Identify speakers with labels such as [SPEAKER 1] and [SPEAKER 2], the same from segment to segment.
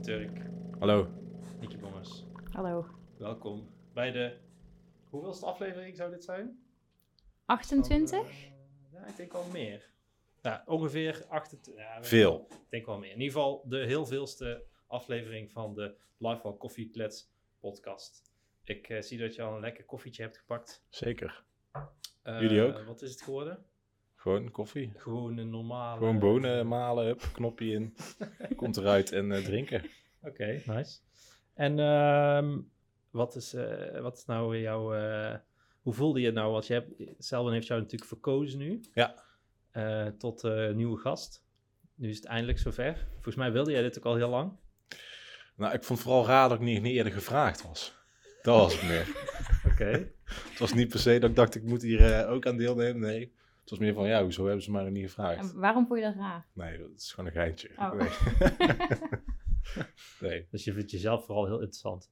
[SPEAKER 1] Turk,
[SPEAKER 2] Hallo.
[SPEAKER 1] Nicky Bommers.
[SPEAKER 3] Hallo.
[SPEAKER 1] Welkom bij de... Hoeveelste aflevering zou dit zijn?
[SPEAKER 3] 28?
[SPEAKER 1] Van, eh, ja, ik denk wel meer. Nou, ongeveer 28... Ja, we-
[SPEAKER 2] Veel.
[SPEAKER 1] Ik denk wel meer. In ieder geval de heel veelste aflevering van de Lifewell Coffee Klets podcast. Ik eh, zie dat je al een lekker koffietje hebt gepakt.
[SPEAKER 2] Zeker.
[SPEAKER 1] Eh,
[SPEAKER 2] Jullie ook?
[SPEAKER 1] Wat is het geworden?
[SPEAKER 2] Gewoon koffie.
[SPEAKER 1] Gewoon een normale...
[SPEAKER 2] Gewoon bonen malen, hup, knopje in. Komt eruit en eh, drinken.
[SPEAKER 1] Oké, nice. En ehm, wat, is, eh, wat is nou jouw... eh, hoe voelde je het nou? Want je hebt, Selwyn heeft jou natuurlijk verkozen nu.
[SPEAKER 2] Ja.
[SPEAKER 1] Eh, tot eh, nieuwe gast. Nu is het eindelijk zover. Volgens mij wilde jij dit ook al heel lang.
[SPEAKER 2] Nou, ik vond het vooral raar dat ik niet, niet eerder gevraagd was. Dat was het meer.
[SPEAKER 1] Oké.
[SPEAKER 2] Het was niet per se dat ik dacht, ik moet hier eh, ook aan deelnemen. Nee. Het was meer van, ja, hoezo hebben ze mij nog niet gevraagd?
[SPEAKER 3] En waarom vond je dat raar?
[SPEAKER 2] Nee, dat is gewoon een geintje.
[SPEAKER 3] Oh.
[SPEAKER 2] Nee. nee.
[SPEAKER 1] Dus je vindt jezelf vooral heel interessant.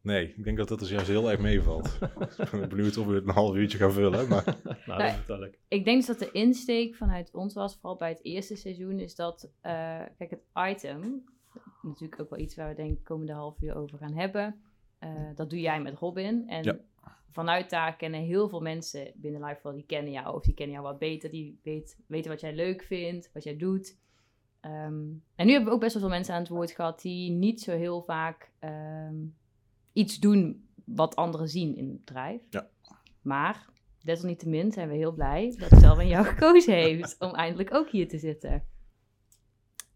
[SPEAKER 2] Nee, ik denk dat dat dus juist heel erg meevalt. ik ben benieuwd of we het een half uurtje gaan vullen. Maar
[SPEAKER 1] Nou,
[SPEAKER 3] Nee.
[SPEAKER 1] dat is wel leuk.
[SPEAKER 3] Ik denk dus dat de insteek vanuit ons was, vooral bij het eerste seizoen, is dat, eh, kijk, het item, natuurlijk ook wel iets waar we denk ik komende half uur over gaan hebben. Eh, dat doe jij met Robin. En
[SPEAKER 2] Ja.
[SPEAKER 3] vanuit daar kennen heel veel mensen binnen Lifewell, die kennen jou of die kennen jou wat beter. Die weet, weten wat jij leuk vindt, wat jij doet. Ehm, en nu hebben we ook best wel veel mensen aan het woord gehad die niet zo heel vaak ehm, iets doen wat anderen zien in het bedrijf.
[SPEAKER 2] Ja.
[SPEAKER 3] Maar desalniettemin zijn we heel blij dat Selwyn jou gekozen heeft om eindelijk ook hier te zitten.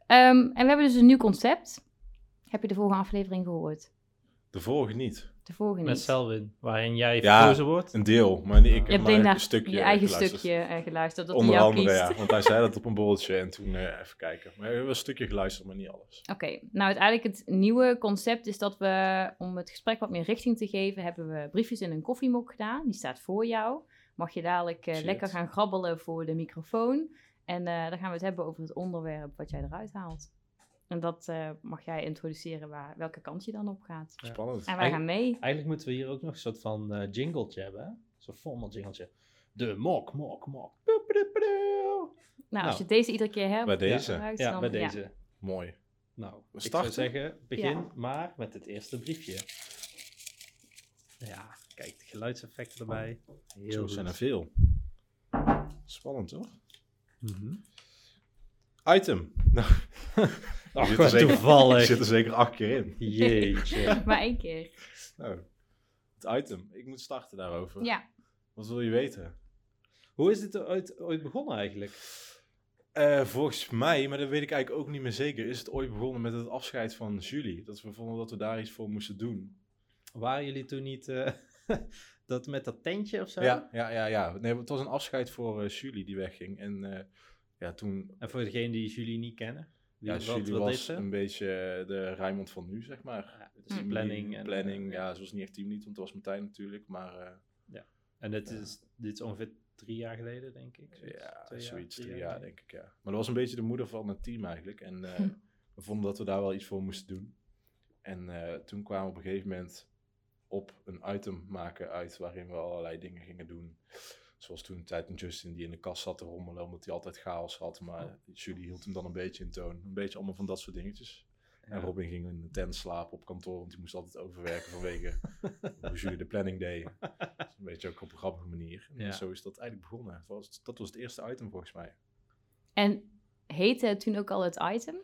[SPEAKER 3] Ehm, en we hebben dus een nieuw concept. Heb je de vorige aflevering gehoord?
[SPEAKER 2] de vorige niet.
[SPEAKER 3] De vorige
[SPEAKER 1] Met
[SPEAKER 3] niet.
[SPEAKER 1] Selwyn, waarin jij
[SPEAKER 2] Ja.
[SPEAKER 1] verkozen wordt.
[SPEAKER 2] Een deel, maar niet, ik
[SPEAKER 3] Je
[SPEAKER 2] heb
[SPEAKER 3] hebt
[SPEAKER 2] maar
[SPEAKER 3] alleen
[SPEAKER 2] een
[SPEAKER 3] naar
[SPEAKER 2] stukje
[SPEAKER 3] je eigen
[SPEAKER 2] geluisterd.
[SPEAKER 3] stukje eh, geluisterd dat hij
[SPEAKER 2] Onder
[SPEAKER 3] jou
[SPEAKER 2] andere,
[SPEAKER 3] kiest.
[SPEAKER 2] ja. Want hij zei dat op een borreltje en toen eh, even kijken. Maar we hebben een stukje geluisterd, maar niet alles.
[SPEAKER 3] Oké, nou uiteindelijk het nieuwe concept is dat we, om het gesprek wat meer richting te geven, hebben we briefjes in een koffiemok gedaan. Die staat voor jou. Mag je dadelijk eh,
[SPEAKER 2] Shit.
[SPEAKER 3] lekker gaan grabbelen voor de microfoon. En eh, dan gaan we het hebben over het onderwerp wat jij eruit haalt. En dat eh, mag jij introduceren waar, welke kant je dan op gaat.
[SPEAKER 1] Ja.
[SPEAKER 2] Spannend.
[SPEAKER 3] En wij gaan mee.
[SPEAKER 1] Eigenlijk moeten we hier ook nog een soort van eh jingletje hebben. hè? Zo'n formal jingletje. De mok, mok, mok. Boep, boep, boep.
[SPEAKER 3] Nou,
[SPEAKER 1] Nou.
[SPEAKER 3] als je deze iedere keer hebt,
[SPEAKER 2] Bij deze.
[SPEAKER 3] gebruikt,
[SPEAKER 1] Ja,
[SPEAKER 3] dan-
[SPEAKER 1] bij deze.
[SPEAKER 2] Mooi.
[SPEAKER 1] Nou, ik
[SPEAKER 2] starten?
[SPEAKER 1] zou zeggen, begin
[SPEAKER 3] Ja.
[SPEAKER 1] maar met het eerste briefje. Ja, kijk, de geluidseffecten erbij.
[SPEAKER 2] Zo zijn er veel. Spannend, toch?
[SPEAKER 1] Mhm.
[SPEAKER 2] Item. Nou,
[SPEAKER 1] Ach,
[SPEAKER 2] zit er
[SPEAKER 1] wat
[SPEAKER 2] zeker- ik
[SPEAKER 1] Oh, toevallig.
[SPEAKER 2] zit er zeker acht keer in.
[SPEAKER 1] Jeetje.
[SPEAKER 3] Maar één keer.
[SPEAKER 2] Nou, het item. Ik moet starten daarover.
[SPEAKER 3] Ja,
[SPEAKER 2] Wat wil je weten?
[SPEAKER 1] Hoe is dit er ooit, ooit begonnen eigenlijk?
[SPEAKER 2] Eh, volgens mij, maar dat weet ik eigenlijk ook niet meer zeker, is het ooit begonnen met het afscheid van Julie. Dat we vonden dat we daar iets voor moesten doen.
[SPEAKER 1] Waren jullie toen niet eh, dat met dat tentje of zo?
[SPEAKER 2] Ja, ja, ja. ja. Nee, het was een afscheid voor eh, Julie die wegging. En eh, ja, toen
[SPEAKER 1] En voor degenen die jullie niet kennen, wie,
[SPEAKER 2] Ja,
[SPEAKER 1] wat,
[SPEAKER 2] Julie
[SPEAKER 1] wat deed
[SPEAKER 2] was
[SPEAKER 1] ze?
[SPEAKER 2] een beetje eh, de Rijmond van nu, zeg maar.
[SPEAKER 1] Ja, dus
[SPEAKER 3] Mm.
[SPEAKER 1] de planning.
[SPEAKER 2] En,
[SPEAKER 1] En,
[SPEAKER 2] Mm-hmm. planning,
[SPEAKER 1] eh,
[SPEAKER 2] ja, ze was niet echt team niet, want dat was Martijn natuurlijk. Maar eh,
[SPEAKER 1] En het is, dit is ongeveer drie jaar geleden, denk ik.
[SPEAKER 2] ja,
[SPEAKER 1] Twee
[SPEAKER 2] zoiets,
[SPEAKER 1] drie
[SPEAKER 2] drie jaar denk ik, ja. Maar dat was een beetje de moeder van het team eigenlijk. En eh,
[SPEAKER 3] Hm.
[SPEAKER 2] we vonden dat we daar wel iets voor moesten doen. En eh, toen kwamen we op een gegeven moment op een item maken uit waarin we allerlei dingen gingen doen. Zoals toen de tijd met Justin die in de kast zat te rommelen, omdat hij altijd chaos had. Maar
[SPEAKER 1] Oh.
[SPEAKER 2] Julie hield hem dan een beetje in toon. Een beetje allemaal van dat soort dingetjes. En
[SPEAKER 1] Ja.
[SPEAKER 2] Robin ging in de tent slapen op kantoor, want die moest altijd overwerken vanwege hoe jullie de planning deed. Dat is een beetje ook op een grappige manier. En
[SPEAKER 1] Ja.
[SPEAKER 2] zo is dat eigenlijk begonnen. Dat was, dat was het eerste item volgens mij.
[SPEAKER 3] en heette het toen ook al het item?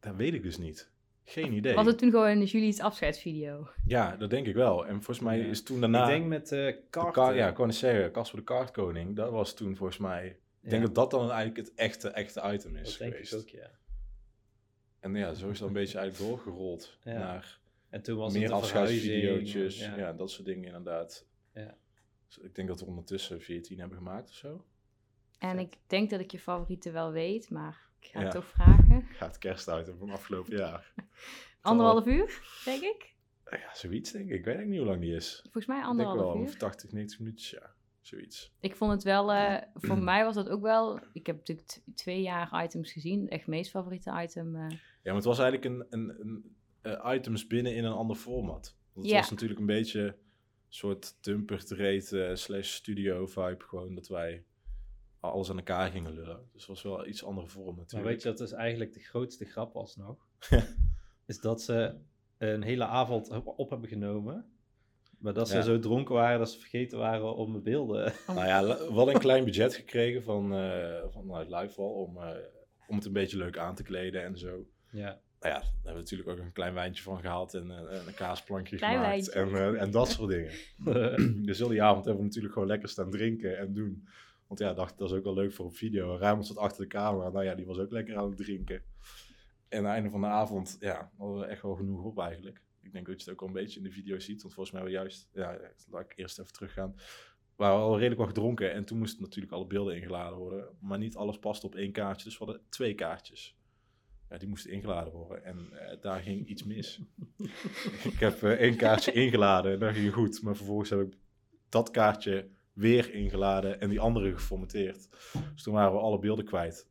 [SPEAKER 2] Dat weet ik dus niet. Geen idee.
[SPEAKER 3] Was het toen gewoon Julie's afscheidsvideo?
[SPEAKER 2] Ja, dat denk ik wel. En volgens mij
[SPEAKER 1] Ja.
[SPEAKER 2] is toen daarna...
[SPEAKER 1] Ik denk met eh
[SPEAKER 2] de
[SPEAKER 1] kaarten.
[SPEAKER 2] kaart, ja, ik wou net zeggen, Casper de Kaartkoning, dat was toen volgens mij... Ik denk
[SPEAKER 1] Ja,
[SPEAKER 2] dat dat dan eigenlijk het echte, echte item
[SPEAKER 1] dat
[SPEAKER 2] is
[SPEAKER 1] denk
[SPEAKER 2] geweest.
[SPEAKER 1] ik ook, ja.
[SPEAKER 2] En ja, zo is dat een beetje eigenlijk doorgerold
[SPEAKER 1] Ja.
[SPEAKER 2] naar...
[SPEAKER 1] En toen was
[SPEAKER 2] meer
[SPEAKER 1] het de
[SPEAKER 2] afscheidsvideootjes.
[SPEAKER 1] verhuizing,
[SPEAKER 2] Ja.
[SPEAKER 1] Ja.
[SPEAKER 2] dat soort dingen inderdaad.
[SPEAKER 1] Ja.
[SPEAKER 2] Dus ik denk dat we ondertussen 14 hebben gemaakt of zo.
[SPEAKER 3] En ik denk dat ik je favoriete wel weet, maar ik ga
[SPEAKER 2] Ja.
[SPEAKER 3] het toch vragen.
[SPEAKER 2] Gaat kerst uit van afgelopen jaar.
[SPEAKER 3] Anderhalf uur, denk ik.
[SPEAKER 2] Ja, zoiets denk ik. Ik weet eigenlijk niet hoe lang die is.
[SPEAKER 3] Volgens mij
[SPEAKER 2] Ik denk
[SPEAKER 3] anderhalf
[SPEAKER 2] wel of
[SPEAKER 3] uur.
[SPEAKER 2] 80, 90 minuutjes, ja. Zoiets.
[SPEAKER 3] Ik vond het wel, eh, voor mij was dat ook wel. Ik heb natuurlijk t- twee jaar items gezien. Echt meest favoriete item. eh.
[SPEAKER 2] Ja, maar het was eigenlijk een, een, een eh, items binnen in een ander format. Want het
[SPEAKER 3] Ja.
[SPEAKER 2] was natuurlijk een beetje een soort dumper te slash studio vibe. Gewoon dat wij alles aan elkaar gingen lullen. Dus het was wel een iets andere vorm natuurlijk.
[SPEAKER 1] Maar weet je, dat is eigenlijk de grootste grap alsnog. is dat ze een hele avond op- op hebben genomen. Maar dat ze
[SPEAKER 2] Ja.
[SPEAKER 1] zo dronken waren dat ze vergeten waren om beelden.
[SPEAKER 2] Nou ja, la- wel een klein budget gekregen van, eh vanuit Livewall om, eh, om het een beetje leuk aan te kleden en zo.
[SPEAKER 1] ja.
[SPEAKER 2] Nou ja, daar hebben we natuurlijk ook een klein wijntje van gehaald en, eh, en een kaasplankje
[SPEAKER 3] Klein
[SPEAKER 2] gemaakt en,
[SPEAKER 3] wijntje.
[SPEAKER 2] eh, en dat soort dingen. dus heel die avond hebben we natuurlijk gewoon lekker staan drinken en doen. Want ja, dacht dat is ook wel leuk voor op video. Raymond zat achter de camera, nou ja, die was ook lekker aan het drinken. En aan het einde van de avond, ja, hadden we echt wel genoeg op eigenlijk. Ik denk dat je het ook al een beetje in de video ziet, want volgens mij hebben we juist, ja, laat ik eerst even teruggaan. We waren al redelijk wat gedronken en toen moesten natuurlijk alle beelden ingeladen worden. Maar niet alles paste op één kaartje, dus we hadden twee kaartjes. Ja, die moesten ingeladen worden en eh, daar ging iets mis. ik heb eh, één kaartje ingeladen en dat ging goed. Maar vervolgens heb ik dat kaartje weer ingeladen en die andere geformateerd. Dus toen waren we alle beelden kwijt.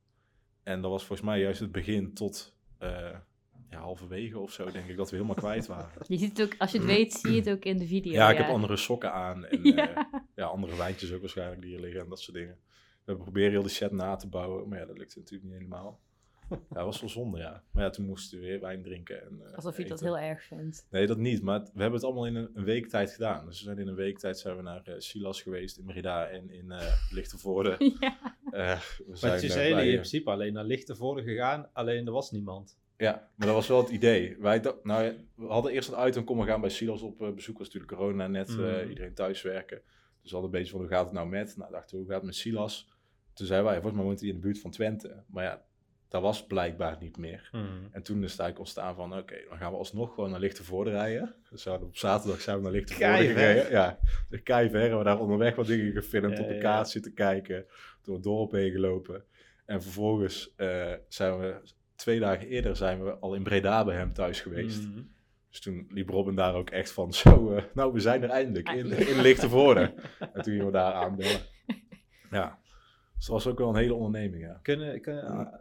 [SPEAKER 2] En dat was volgens mij juist het begin tot eh, ja, halverwege of zo, denk ik, dat we helemaal kwijt waren.
[SPEAKER 3] Je ziet het ook, als je het weet, zie je het ook in de video.
[SPEAKER 2] Ja, ik heb andere sokken aan en eh, ja. andere wijntjes ook waarschijnlijk die hier liggen en dat soort dingen. We hebben proberen heel de set na te bouwen, maar ja, dat lukte natuurlijk niet helemaal. Ja, dat was wel zonde, ja. Maar ja, toen moesten we weer wijn drinken. En, eh,
[SPEAKER 3] Alsof je dat
[SPEAKER 2] eten.
[SPEAKER 3] heel erg vindt.
[SPEAKER 2] Nee, dat niet. Maar het- we hebben het allemaal in een, een week tijd gedaan. Dus we zijn in een week tijd zijn we naar eh, Silas geweest in Merida en in eh Lichtenvoorde.
[SPEAKER 3] Ja.
[SPEAKER 2] Eh, we
[SPEAKER 1] Want
[SPEAKER 2] zijn
[SPEAKER 1] je
[SPEAKER 2] eh,
[SPEAKER 1] zijn
[SPEAKER 2] bij,
[SPEAKER 1] in
[SPEAKER 2] eh,
[SPEAKER 1] principe alleen naar lichte voren gegaan, alleen er was niemand.
[SPEAKER 2] Ja, maar dat was wel het idee. Wij dacht- nou, ja, we hadden eerst een item komen gaan bij Silas op eh, bezoek. was natuurlijk corona net, eh,
[SPEAKER 1] Mhm.
[SPEAKER 2] iedereen thuiswerken. Dus we hadden een beetje van, hoe gaat het nou met? Nou, dachten we, hoe gaat het met Silas? Toen zeiden wij, volgens mij woont hij in de buurt van Twente. Maar ja, dat was blijkbaar niet meer. En toen is het eigenlijk ontstaan van, oké, dan gaan we alsnog gewoon naar Lichtenvoorde rijden. Dus we hadden op zaterdag zijn we naar Lichtenvoorde
[SPEAKER 1] Keiver.
[SPEAKER 2] gereden. Ja, dus kei ver. Hebben we daar onderweg wat dingen gefilmd,
[SPEAKER 1] Ja,
[SPEAKER 2] op een
[SPEAKER 1] ja.
[SPEAKER 2] kaart zitten kijken, door het dorp heen gelopen. En vervolgens eh, zijn we, twee dagen eerder zijn we al in Breda bij hem thuis geweest.
[SPEAKER 1] Mhm.
[SPEAKER 2] Dus toen liep Robin daar ook echt van, zo, eh, nou we zijn er eindelijk,
[SPEAKER 1] Ah,
[SPEAKER 2] in, in Lichtenvoorde. en toen gingen we daar aanbellen. Ja, dus dat was ook wel een hele onderneming, ja.
[SPEAKER 1] Kunnen, kunnen ah,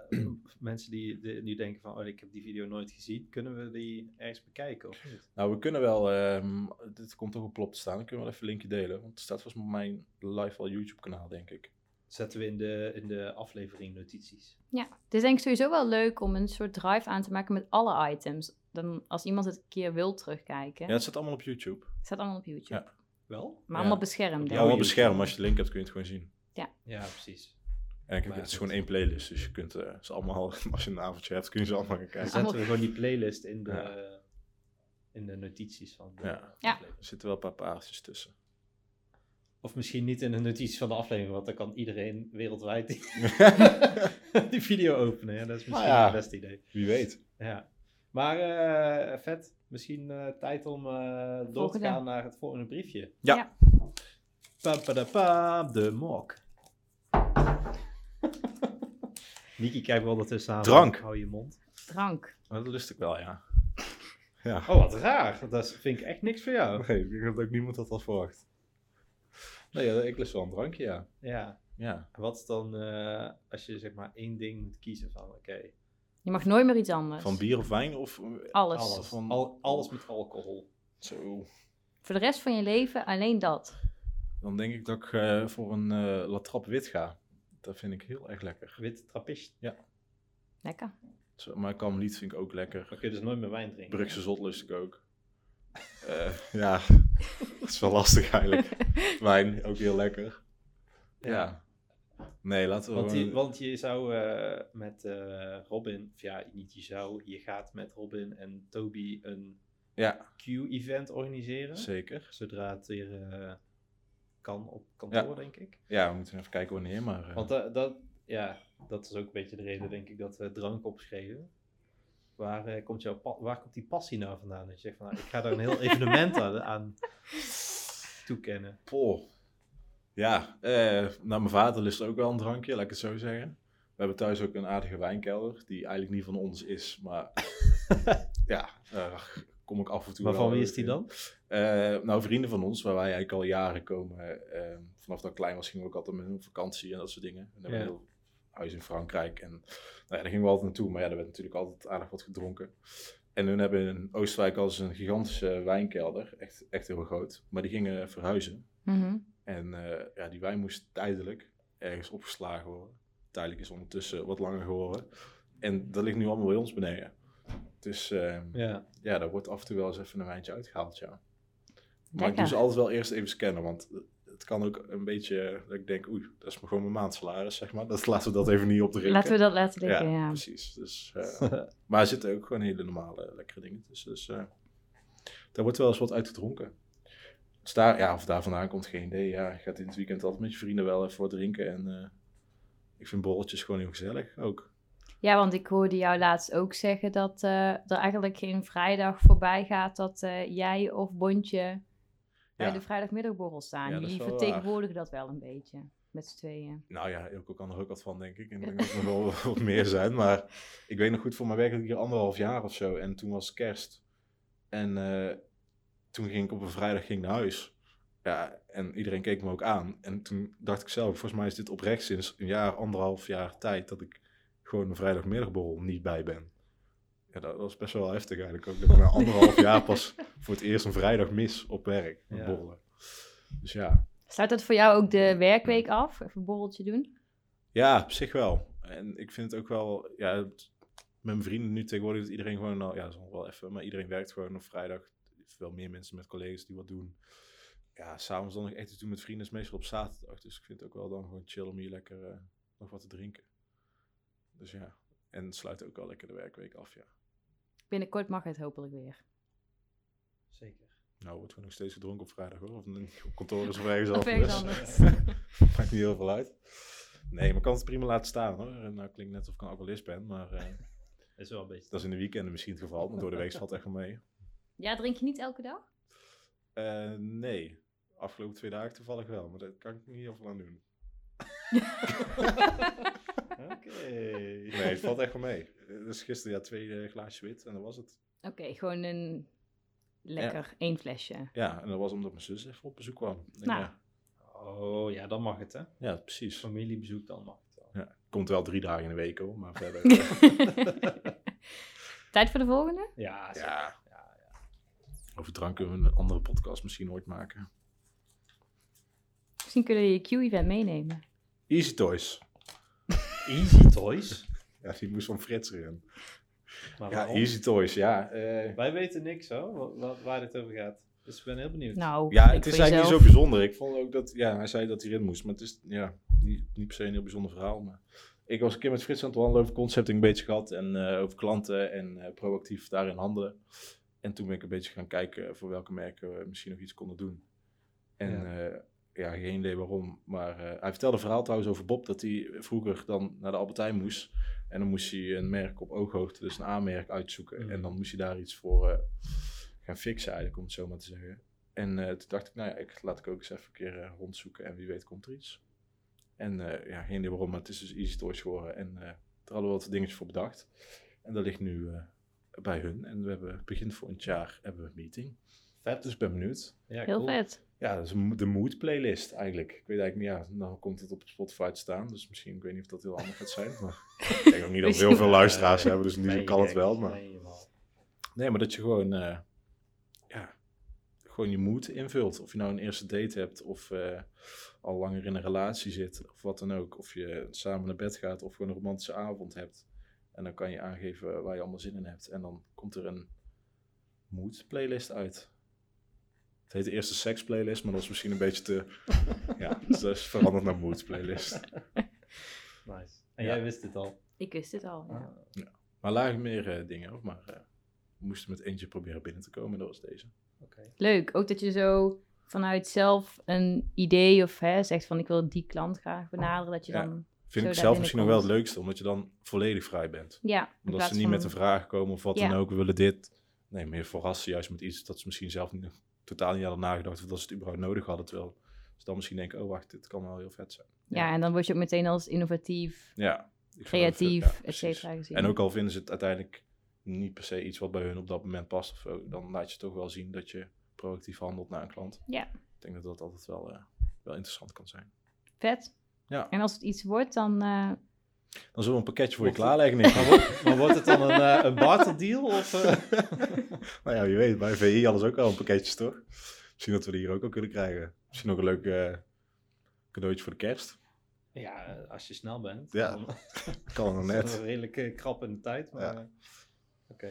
[SPEAKER 1] mensen die de- nu denken van, oh, ik heb die video nooit gezien, kunnen we die ergens bekijken of niet?
[SPEAKER 2] Nou, we kunnen wel, ehm, dit komt ook op plop te staan, dan kunnen we wel even een linkje delen. Want het staat volgens mij op mijn live al YouTube kanaal, denk ik.
[SPEAKER 1] Zetten we in de, in de aflevering notities.
[SPEAKER 3] Ja, het is denk ik sowieso wel leuk om een soort drive aan te maken met alle items. Dan als iemand het een keer wil terugkijken,
[SPEAKER 2] Ja, het staat allemaal op YouTube.
[SPEAKER 3] het staat allemaal op YouTube.
[SPEAKER 2] Ja.
[SPEAKER 1] Wel?
[SPEAKER 2] Ja.
[SPEAKER 3] Maar allemaal beschermd.
[SPEAKER 1] Ja,
[SPEAKER 3] hè?
[SPEAKER 2] allemaal op
[SPEAKER 1] YouTube.
[SPEAKER 2] het scherm, als je de link hebt kun je het gewoon zien.
[SPEAKER 1] Ja, precies.
[SPEAKER 2] En kijk,
[SPEAKER 1] Maar
[SPEAKER 2] het is
[SPEAKER 1] goed.
[SPEAKER 2] gewoon één playlist, dus je kunt eh, ze allemaal, als je een avondje hebt, kun je ze allemaal gaan
[SPEAKER 1] Dan
[SPEAKER 2] kijken.
[SPEAKER 1] zetten we gewoon die playlist in de,
[SPEAKER 2] Ja.
[SPEAKER 1] in de notities van de
[SPEAKER 2] Ja.
[SPEAKER 3] Ja.
[SPEAKER 1] aflevering.
[SPEAKER 2] Er zitten wel een paar paardjes tussen.
[SPEAKER 1] Of misschien niet in de notities van de aflevering, want dan kan iedereen wereldwijd die, die video openen. Ja, dat is misschien
[SPEAKER 2] Nou ja.
[SPEAKER 1] het beste idee.
[SPEAKER 2] Wie weet.
[SPEAKER 1] Ja. Maar eh, vet, misschien eh, tijd om eh, door te
[SPEAKER 3] Volgende.
[SPEAKER 1] gaan naar het volgende briefje.
[SPEAKER 2] Ja.
[SPEAKER 3] Ja.
[SPEAKER 1] Papadapap, de mok. Niki, kijk wel dat tussen aan.
[SPEAKER 2] Drank.
[SPEAKER 1] Hou je mond.
[SPEAKER 3] Drank.
[SPEAKER 2] Maar dat lust ik wel, ja. Ja.
[SPEAKER 1] Oh, wat raar. Dat is- vind ik echt niks voor jou.
[SPEAKER 2] Nee, ik denk dat ook niemand dat had verwacht. Nee, ja, ik lust wel een drankje, ja.
[SPEAKER 1] Ja.
[SPEAKER 2] Ja.
[SPEAKER 1] En Wat is dan, eh, als je zeg maar één ding moet kiezen van, oké,
[SPEAKER 3] Je mag nooit meer iets anders.
[SPEAKER 2] Van bier of wijn of...
[SPEAKER 3] Alles.
[SPEAKER 1] alles.
[SPEAKER 2] Van-
[SPEAKER 1] Al, alles met alcohol.
[SPEAKER 2] Zo.
[SPEAKER 3] Voor de rest van je leven alleen dat.
[SPEAKER 2] Dan denk ik dat ik eh, voor een eh latrap wit ga. Dat vind ik heel erg lekker.
[SPEAKER 1] Witte trappist.
[SPEAKER 3] Lekker.
[SPEAKER 2] Zo, maar Kamerlied vind ik ook
[SPEAKER 1] Dan
[SPEAKER 2] lekker.
[SPEAKER 1] kun je dus nooit meer wijn drinken.
[SPEAKER 2] Brugse zot lust ik ook. Eh, ja, dat is wel lastig eigenlijk. Wijn, ook heel lekker. Ja. Nee, laten we
[SPEAKER 1] Want,
[SPEAKER 2] gewoon-
[SPEAKER 1] die, want je zou eh, met eh, Robin, of ja, niet je zou, je gaat met Robin en Toby een
[SPEAKER 2] Ja,
[SPEAKER 1] Q-event organiseren.
[SPEAKER 2] zeker.
[SPEAKER 1] Zodra het weer eh, kan op kantoor,
[SPEAKER 2] Ja.
[SPEAKER 1] denk ik.
[SPEAKER 2] Ja, we moeten even kijken wanneer, maar... eh,
[SPEAKER 1] Want da- dat, ja, dat is ook een beetje de reden, denk ik, dat we drank opschreven. Waar, eh, komt jouw pa- waar komt die passie nou vandaan? Dat je zegt van, nou, ik ga daar een heel evenement aan, aan toekennen.
[SPEAKER 2] Poh. Ja, eh, nou, mijn vader lust ook wel een drankje, laat ik het zo zeggen. We hebben thuis ook een aardige wijnkelder, die eigenlijk niet van ons is, maar ja, eh, daar kom ik af en toe
[SPEAKER 1] Maar
[SPEAKER 2] wel
[SPEAKER 1] van wie
[SPEAKER 2] weer
[SPEAKER 1] is die
[SPEAKER 2] in.
[SPEAKER 1] dan?
[SPEAKER 2] Eh, nou, vrienden van ons, waar wij eigenlijk al jaren komen. eh, vanaf dat ik klein was, gingen we ook altijd met hun op vakantie en dat soort dingen. En dan
[SPEAKER 1] Ja.
[SPEAKER 2] hebben we een heel huis in Frankrijk. En nou ja, daar gingen we altijd naartoe. Maar ja, daar werd natuurlijk altijd aardig wat gedronken. En hun hebben in Oostenrijk al eens een gigantische wijnkelder. Echt, echt heel groot. Maar die gingen verhuizen.
[SPEAKER 3] Mhm.
[SPEAKER 2] En eh, ja, die wijn moest tijdelijk ergens opgeslagen worden. Tijdelijk is ondertussen wat langer geworden. En dat ligt nu allemaal bij ons beneden. Dus ehm, ja.
[SPEAKER 1] Ja.
[SPEAKER 2] daar wordt af en toe wel eens even een wijntje uitgehaald, ja. Maar ik
[SPEAKER 3] Lekker.
[SPEAKER 2] doe ze altijd wel eerst even scannen, want het kan ook een beetje eh, dat ik denk, oei, dat is maar gewoon mijn maandsalaris, zeg maar. Dat, laten we dat even niet opdrinken.
[SPEAKER 3] Laten we dat laten
[SPEAKER 2] ja,
[SPEAKER 3] liggen, ja.
[SPEAKER 2] precies. Dus, eh, maar er zitten ook gewoon hele normale, lekkere dingen tussen. Dus eh, daar wordt wel eens wat uitgedronken. Dus daar, ja, of daar vandaan komt, geen idee. Ja, je gaat in het weekend altijd met je vrienden wel even wat drinken. En eh, ik vind borreltjes gewoon heel gezellig ook.
[SPEAKER 3] Ja, want ik hoorde jou laatst ook zeggen dat eh, er eigenlijk geen vrijdag voorbij gaat dat eh, jij of Bontje bij
[SPEAKER 2] Ja.
[SPEAKER 3] de vrijdagmiddagborrel staan.
[SPEAKER 2] Ja, dat is
[SPEAKER 3] Jullie
[SPEAKER 2] wel waar.
[SPEAKER 3] vertegenwoordigen dat wel een beetje, met z'n tweeën.
[SPEAKER 2] Nou ja, Ilko kan er ook wat van, denk ik. En ik denk dat er nog wel wat meer zijn. Maar ik weet nog goed voor mijn werk dat ik hier anderhalf jaar of zo. En toen was kerst. En eh, toen ging ik op een vrijdag ging ik naar huis. Ja, en iedereen keek me ook aan. En toen dacht ik zelf, volgens mij is dit oprecht sinds een jaar, anderhalf jaar tijd... dat ik gewoon een vrijdagmiddagborrel niet bij ben. Ja, dat was best wel heftig eigenlijk ook. Dat ik na anderhalf jaar pas voor het eerst een vrijdag mis op werk. met
[SPEAKER 1] Ja.
[SPEAKER 2] borrelen. Dus ja,
[SPEAKER 3] Sluit dat voor jou ook de werkweek af? Even een borreltje doen?
[SPEAKER 2] Ja, op zich wel. En ik vind het ook wel, ja, het- met mijn vrienden nu tegenwoordig dat iedereen gewoon al, ja, dat is nog wel even, maar iedereen werkt gewoon op vrijdag. Er zijn Wel meer mensen met collega's die wat doen. Ja, s'avonds dan nog echt iets doen met vrienden is meestal op zaterdag. Dus ik vind het ook wel dan gewoon chill om hier lekker eh, nog wat te drinken. Dus ja, en het sluit ook wel lekker de werkweek af, ja.
[SPEAKER 3] Binnenkort mag het hopelijk weer.
[SPEAKER 1] Zeker.
[SPEAKER 2] Nou, wordt gewoon nog steeds gedronken op vrijdag hoor. Of niet op kantoor is of ergens
[SPEAKER 3] Of
[SPEAKER 2] anders.
[SPEAKER 3] ergens
[SPEAKER 2] Maakt niet heel veel uit. Nee, maar ik kan het prima laten staan hoor. En nou klinkt net of ik een alcoholist ben, maar... eh,
[SPEAKER 1] Dat is wel een beetje...
[SPEAKER 2] Dat is in de weekenden misschien het geval, maar door de week valt echt wel mee.
[SPEAKER 3] Ja, drink je niet elke dag?
[SPEAKER 2] Eh, nee, afgelopen twee dagen toevallig wel, maar dat kan ik niet heel veel aan doen.
[SPEAKER 1] Oké.
[SPEAKER 2] Nee, het valt echt wel mee. Eh, Dus gisteren ja, twee eh, glaasjes wit en dat was het.
[SPEAKER 3] Oké, gewoon een lekker één flesje.
[SPEAKER 2] Ja, en dat was omdat mijn zus even op bezoek kwam. Ik denk,
[SPEAKER 3] Nou.
[SPEAKER 2] Ja,
[SPEAKER 1] Oh, ja, dan mag het, hè?
[SPEAKER 2] ja, precies.
[SPEAKER 1] Familiebezoek, dan mag het wel.
[SPEAKER 2] Ja, komt wel drie dagen in de week hoor, maar verder. eh,
[SPEAKER 3] Tijd voor de volgende?
[SPEAKER 1] Ja, zeker.
[SPEAKER 2] ja.
[SPEAKER 1] Ja,
[SPEAKER 2] Over drank kunnen we een andere podcast misschien ooit maken.
[SPEAKER 3] Misschien kunnen we je Q-event meenemen.
[SPEAKER 2] Easy Toys.
[SPEAKER 1] Easy Toys.
[SPEAKER 2] Ja, die moest van Frits erin.
[SPEAKER 1] Maar
[SPEAKER 2] Ja,
[SPEAKER 1] waarom?
[SPEAKER 2] Easy Toys, ja. eh,
[SPEAKER 1] Wij weten niks, hoor, wa- wa- waar dit over gaat. Dus ik ben heel benieuwd.
[SPEAKER 3] Nou,
[SPEAKER 2] Ja,
[SPEAKER 3] ik
[SPEAKER 2] het is
[SPEAKER 3] voor
[SPEAKER 2] eigenlijk
[SPEAKER 3] jezelf.
[SPEAKER 2] niet zo bijzonder. Ik vond ook dat, ja, hij zei dat hij erin moest, maar het is ja, niet, niet per se een heel bijzonder verhaal. Maar ik was een keer met Frits aan het wandelen over concepting een beetje gehad en eh, over klanten en eh, proactief daarin handelen. En toen ben ik een beetje gaan kijken voor welke merken we misschien nog iets konden doen. En ja, ja geen idee waarom, maar eh, hij vertelde een verhaal trouwens over Bob dat hij vroeger dan naar de Albertijn moest. En dan moest hij een merk op ooghoogte, dus een A-merk uitzoeken.
[SPEAKER 1] Mhm.
[SPEAKER 2] En dan moest hij daar iets voor eh, gaan fixen eigenlijk, om het zo maar te zeggen. En eh, toen dacht ik, nou ja, ik, laat ik ook eens even een keer eh, rondzoeken en wie weet komt er iets. En eh, ja, geen idee waarom, maar het is dus Easy Toys geworden. En eh er hadden we wat dingetjes voor bedacht. En dat ligt nu eh, bij hun. En we hebben begin volgend jaar hebben we een meeting.
[SPEAKER 1] Vet.
[SPEAKER 2] Dus ik ben benieuwd.
[SPEAKER 1] ja,
[SPEAKER 3] Heel
[SPEAKER 1] cool.
[SPEAKER 3] vet.
[SPEAKER 2] Ja, dat is een mo- de mood playlist eigenlijk. Ik weet eigenlijk niet, ja, dan komt het op Spotify te staan. Dus misschien, ik weet niet of dat heel handig gaat zijn. Maar ik denk ook niet dat we heel veel luisteraars hebben, dus nu
[SPEAKER 1] Nee,
[SPEAKER 2] kan het
[SPEAKER 1] nee,
[SPEAKER 2] wel. Maar...
[SPEAKER 1] nee, helemaal.
[SPEAKER 2] Nee, maar dat je gewoon, eh, ja, gewoon je moed invult. Of je nou een eerste date hebt, of eh, al langer in een relatie zit, of wat dan ook. Of je samen naar bed gaat, of gewoon een romantische avond hebt. En dan kan je aangeven waar je allemaal zin in hebt. En dan komt er een mood playlist uit. Het heet de eerste seks playlist, maar dat is misschien een beetje te... Ja, dus dat is veranderd naar mood playlist.
[SPEAKER 1] Nice. En
[SPEAKER 2] Ja.
[SPEAKER 1] jij wist het al.
[SPEAKER 3] Ik wist dit al. Ja.
[SPEAKER 1] Ah.
[SPEAKER 2] Maar lagen meer eh, dingen, hoor. maar eh, we moesten met eentje proberen binnen te komen. Dat was deze.
[SPEAKER 1] Oké.
[SPEAKER 3] Leuk, ook dat je zo vanuit zelf een idee of hè, zegt van ik wil die klant graag benaderen, dat je
[SPEAKER 2] Ja.
[SPEAKER 3] dan...
[SPEAKER 2] Vind
[SPEAKER 3] Zo
[SPEAKER 2] ik
[SPEAKER 3] daar
[SPEAKER 2] zelf misschien nog wel het
[SPEAKER 3] binnenkomt.
[SPEAKER 2] leukste, omdat je dan volledig vrij bent.
[SPEAKER 3] Ja, in
[SPEAKER 2] Omdat
[SPEAKER 3] plaats
[SPEAKER 2] ze niet
[SPEAKER 3] van
[SPEAKER 2] met een
[SPEAKER 3] een-
[SPEAKER 2] vraag komen of wat
[SPEAKER 3] Ja.
[SPEAKER 2] dan ook, we willen dit. Nee, meer verrassen juist met iets dat ze misschien zelf niet, totaal niet hadden nagedacht of dat ze het überhaupt nodig hadden. Terwijl ze dan misschien denken, oh wacht, dit kan wel heel vet zijn.
[SPEAKER 3] Ja, en dan word je ook meteen als innovatief,
[SPEAKER 2] Ja. ik vind dat
[SPEAKER 3] creatief,
[SPEAKER 2] vet, ja,
[SPEAKER 3] et
[SPEAKER 2] precies.
[SPEAKER 3] cetera gezien.
[SPEAKER 2] En ook al vinden ze het uiteindelijk niet per se iets wat bij hun op dat moment past of zo, dan laat je toch wel zien dat je proactief handelt naar een klant.
[SPEAKER 3] Ja.
[SPEAKER 2] Ik denk dat dat altijd wel, eh, wel interessant kan zijn.
[SPEAKER 3] Vet.
[SPEAKER 2] Ja.
[SPEAKER 3] En als het iets wordt, dan... eh,
[SPEAKER 2] Dan zullen we een pakketje voor je
[SPEAKER 1] Mocht-
[SPEAKER 2] klaarleggen. Nick.
[SPEAKER 1] Maar, wordt, maar wordt het dan een, eh, een barter deal? Of, eh?
[SPEAKER 2] nou ja, je weet, bij VI hadden ze ook wel een pakketje, toch? Misschien dat we die hier ook al kunnen krijgen. Misschien nog een leuk eh, cadeautje voor de kerst.
[SPEAKER 1] Ja, als je snel bent.
[SPEAKER 2] Ja,
[SPEAKER 1] dan
[SPEAKER 2] Kan nog
[SPEAKER 1] is dat wel
[SPEAKER 2] net.
[SPEAKER 1] redelijk eh, krap in de tijd. Maar,
[SPEAKER 2] Ja.
[SPEAKER 1] eh, Oké.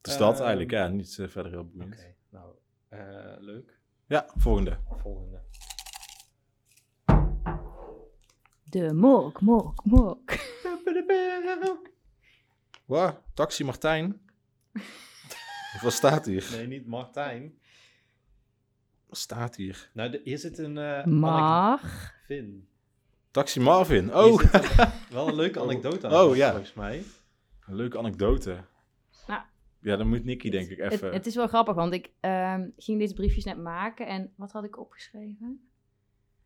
[SPEAKER 2] Dus dat
[SPEAKER 1] Ehm,
[SPEAKER 2] eigenlijk, ja. Niet eh, verder heel
[SPEAKER 1] Oké,
[SPEAKER 2] boeiend.
[SPEAKER 1] nou, eh, leuk.
[SPEAKER 2] Ja, volgende.
[SPEAKER 1] Volgende.
[SPEAKER 3] De mok, mok, mok.
[SPEAKER 2] Wow, Taxi Martijn. Wat staat hier?
[SPEAKER 1] Nee, niet Martijn.
[SPEAKER 2] Wat staat hier?
[SPEAKER 1] Nou, de- hier zit een eh
[SPEAKER 3] Maar
[SPEAKER 1] anekvin.
[SPEAKER 2] Taxi Marvin.
[SPEAKER 1] Hier
[SPEAKER 2] Oh,
[SPEAKER 1] zit een- wel een leuke anekdote aan,
[SPEAKER 2] Oh, ja.
[SPEAKER 1] volgens mij.
[SPEAKER 2] een leuke anekdote.
[SPEAKER 3] Nou.
[SPEAKER 2] Ja, dan moet Nicky denk ik
[SPEAKER 3] het,
[SPEAKER 2] even.
[SPEAKER 3] het is wel grappig, want ik ehm, ging deze briefjes net maken en wat had ik opgeschreven?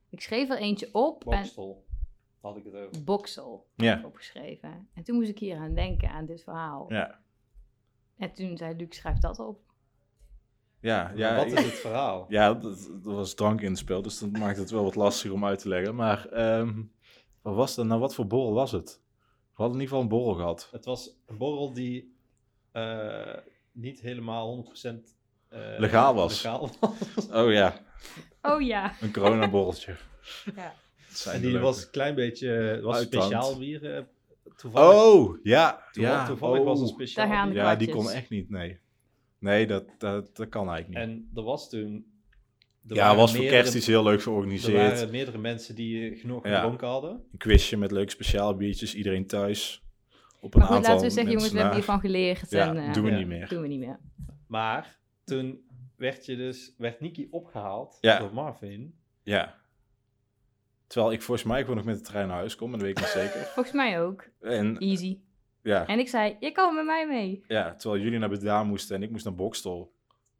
[SPEAKER 3] Ik schreef er eentje op
[SPEAKER 1] Bokstel had ik het over.
[SPEAKER 3] en boksel
[SPEAKER 2] Ja,
[SPEAKER 3] opgeschreven. En toen moest ik hier aan denken, aan dit verhaal.
[SPEAKER 2] ja,
[SPEAKER 3] En toen zei Luc, schrijf dat op.
[SPEAKER 2] ja. ja
[SPEAKER 1] Wat is het verhaal?
[SPEAKER 2] Ja, dat, dat was drank in het spel, dus dat maakt het wel wat lastig om uit te leggen. Maar ehm, wat was dat? Nou, wat voor borrel was het? We hadden in ieder geval een borrel gehad.
[SPEAKER 1] Het was een borrel die eh, niet helemaal 100% eh,
[SPEAKER 2] Legaal was.
[SPEAKER 1] legaal was.
[SPEAKER 2] Oh ja,
[SPEAKER 3] Oh ja.
[SPEAKER 2] een coronaborreltje.
[SPEAKER 3] Ja.
[SPEAKER 2] Dat zijn
[SPEAKER 1] En
[SPEAKER 2] de
[SPEAKER 1] die
[SPEAKER 2] leuke.
[SPEAKER 1] was een klein beetje... Het was
[SPEAKER 2] Uitdankt.
[SPEAKER 1] speciaal bier. eh, toevallig
[SPEAKER 2] Oh, ja.
[SPEAKER 1] toevallig,
[SPEAKER 2] ja.
[SPEAKER 1] toevallig was
[SPEAKER 2] oh.
[SPEAKER 1] het speciaal
[SPEAKER 3] Daar gaan
[SPEAKER 1] bier.
[SPEAKER 3] de
[SPEAKER 2] Ja, die kon
[SPEAKER 3] kwartjes.
[SPEAKER 2] echt niet, nee. Nee, dat, dat, dat kan eigenlijk niet.
[SPEAKER 1] En er was toen... er
[SPEAKER 2] ja,
[SPEAKER 1] waren
[SPEAKER 2] was voor
[SPEAKER 1] meerdere-
[SPEAKER 2] kerst iets heel leuk
[SPEAKER 1] Er
[SPEAKER 2] georganiseerd.
[SPEAKER 1] waren meerdere mensen die eh, genoeg
[SPEAKER 2] Ja.
[SPEAKER 1] gedronken hadden.
[SPEAKER 2] Een quizje met leuke speciaal biertjes, iedereen thuis. Op een
[SPEAKER 3] Maar goed,
[SPEAKER 2] aantal
[SPEAKER 3] laten we zeggen, jongens,
[SPEAKER 2] mensen
[SPEAKER 3] we hebben
[SPEAKER 2] na.
[SPEAKER 3] hiervan geleerd. en,
[SPEAKER 2] Ja,
[SPEAKER 3] eh,
[SPEAKER 2] doen we
[SPEAKER 1] ja.
[SPEAKER 2] niet meer.
[SPEAKER 3] doen we niet meer.
[SPEAKER 1] Maar toen werd, je dus, werd Nicky opgehaald
[SPEAKER 2] Ja.
[SPEAKER 1] door Marvin.
[SPEAKER 2] Ja. Terwijl ik volgens mij gewoon nog met de trein naar huis kom, maar dat weet ik niet zeker.
[SPEAKER 3] Volgens mij ook.
[SPEAKER 2] En
[SPEAKER 3] Easy.
[SPEAKER 2] ja,
[SPEAKER 3] En ik zei, je kan met mij mee.
[SPEAKER 2] ja, terwijl jullie naar Breda moesten en ik moest naar Bokstel.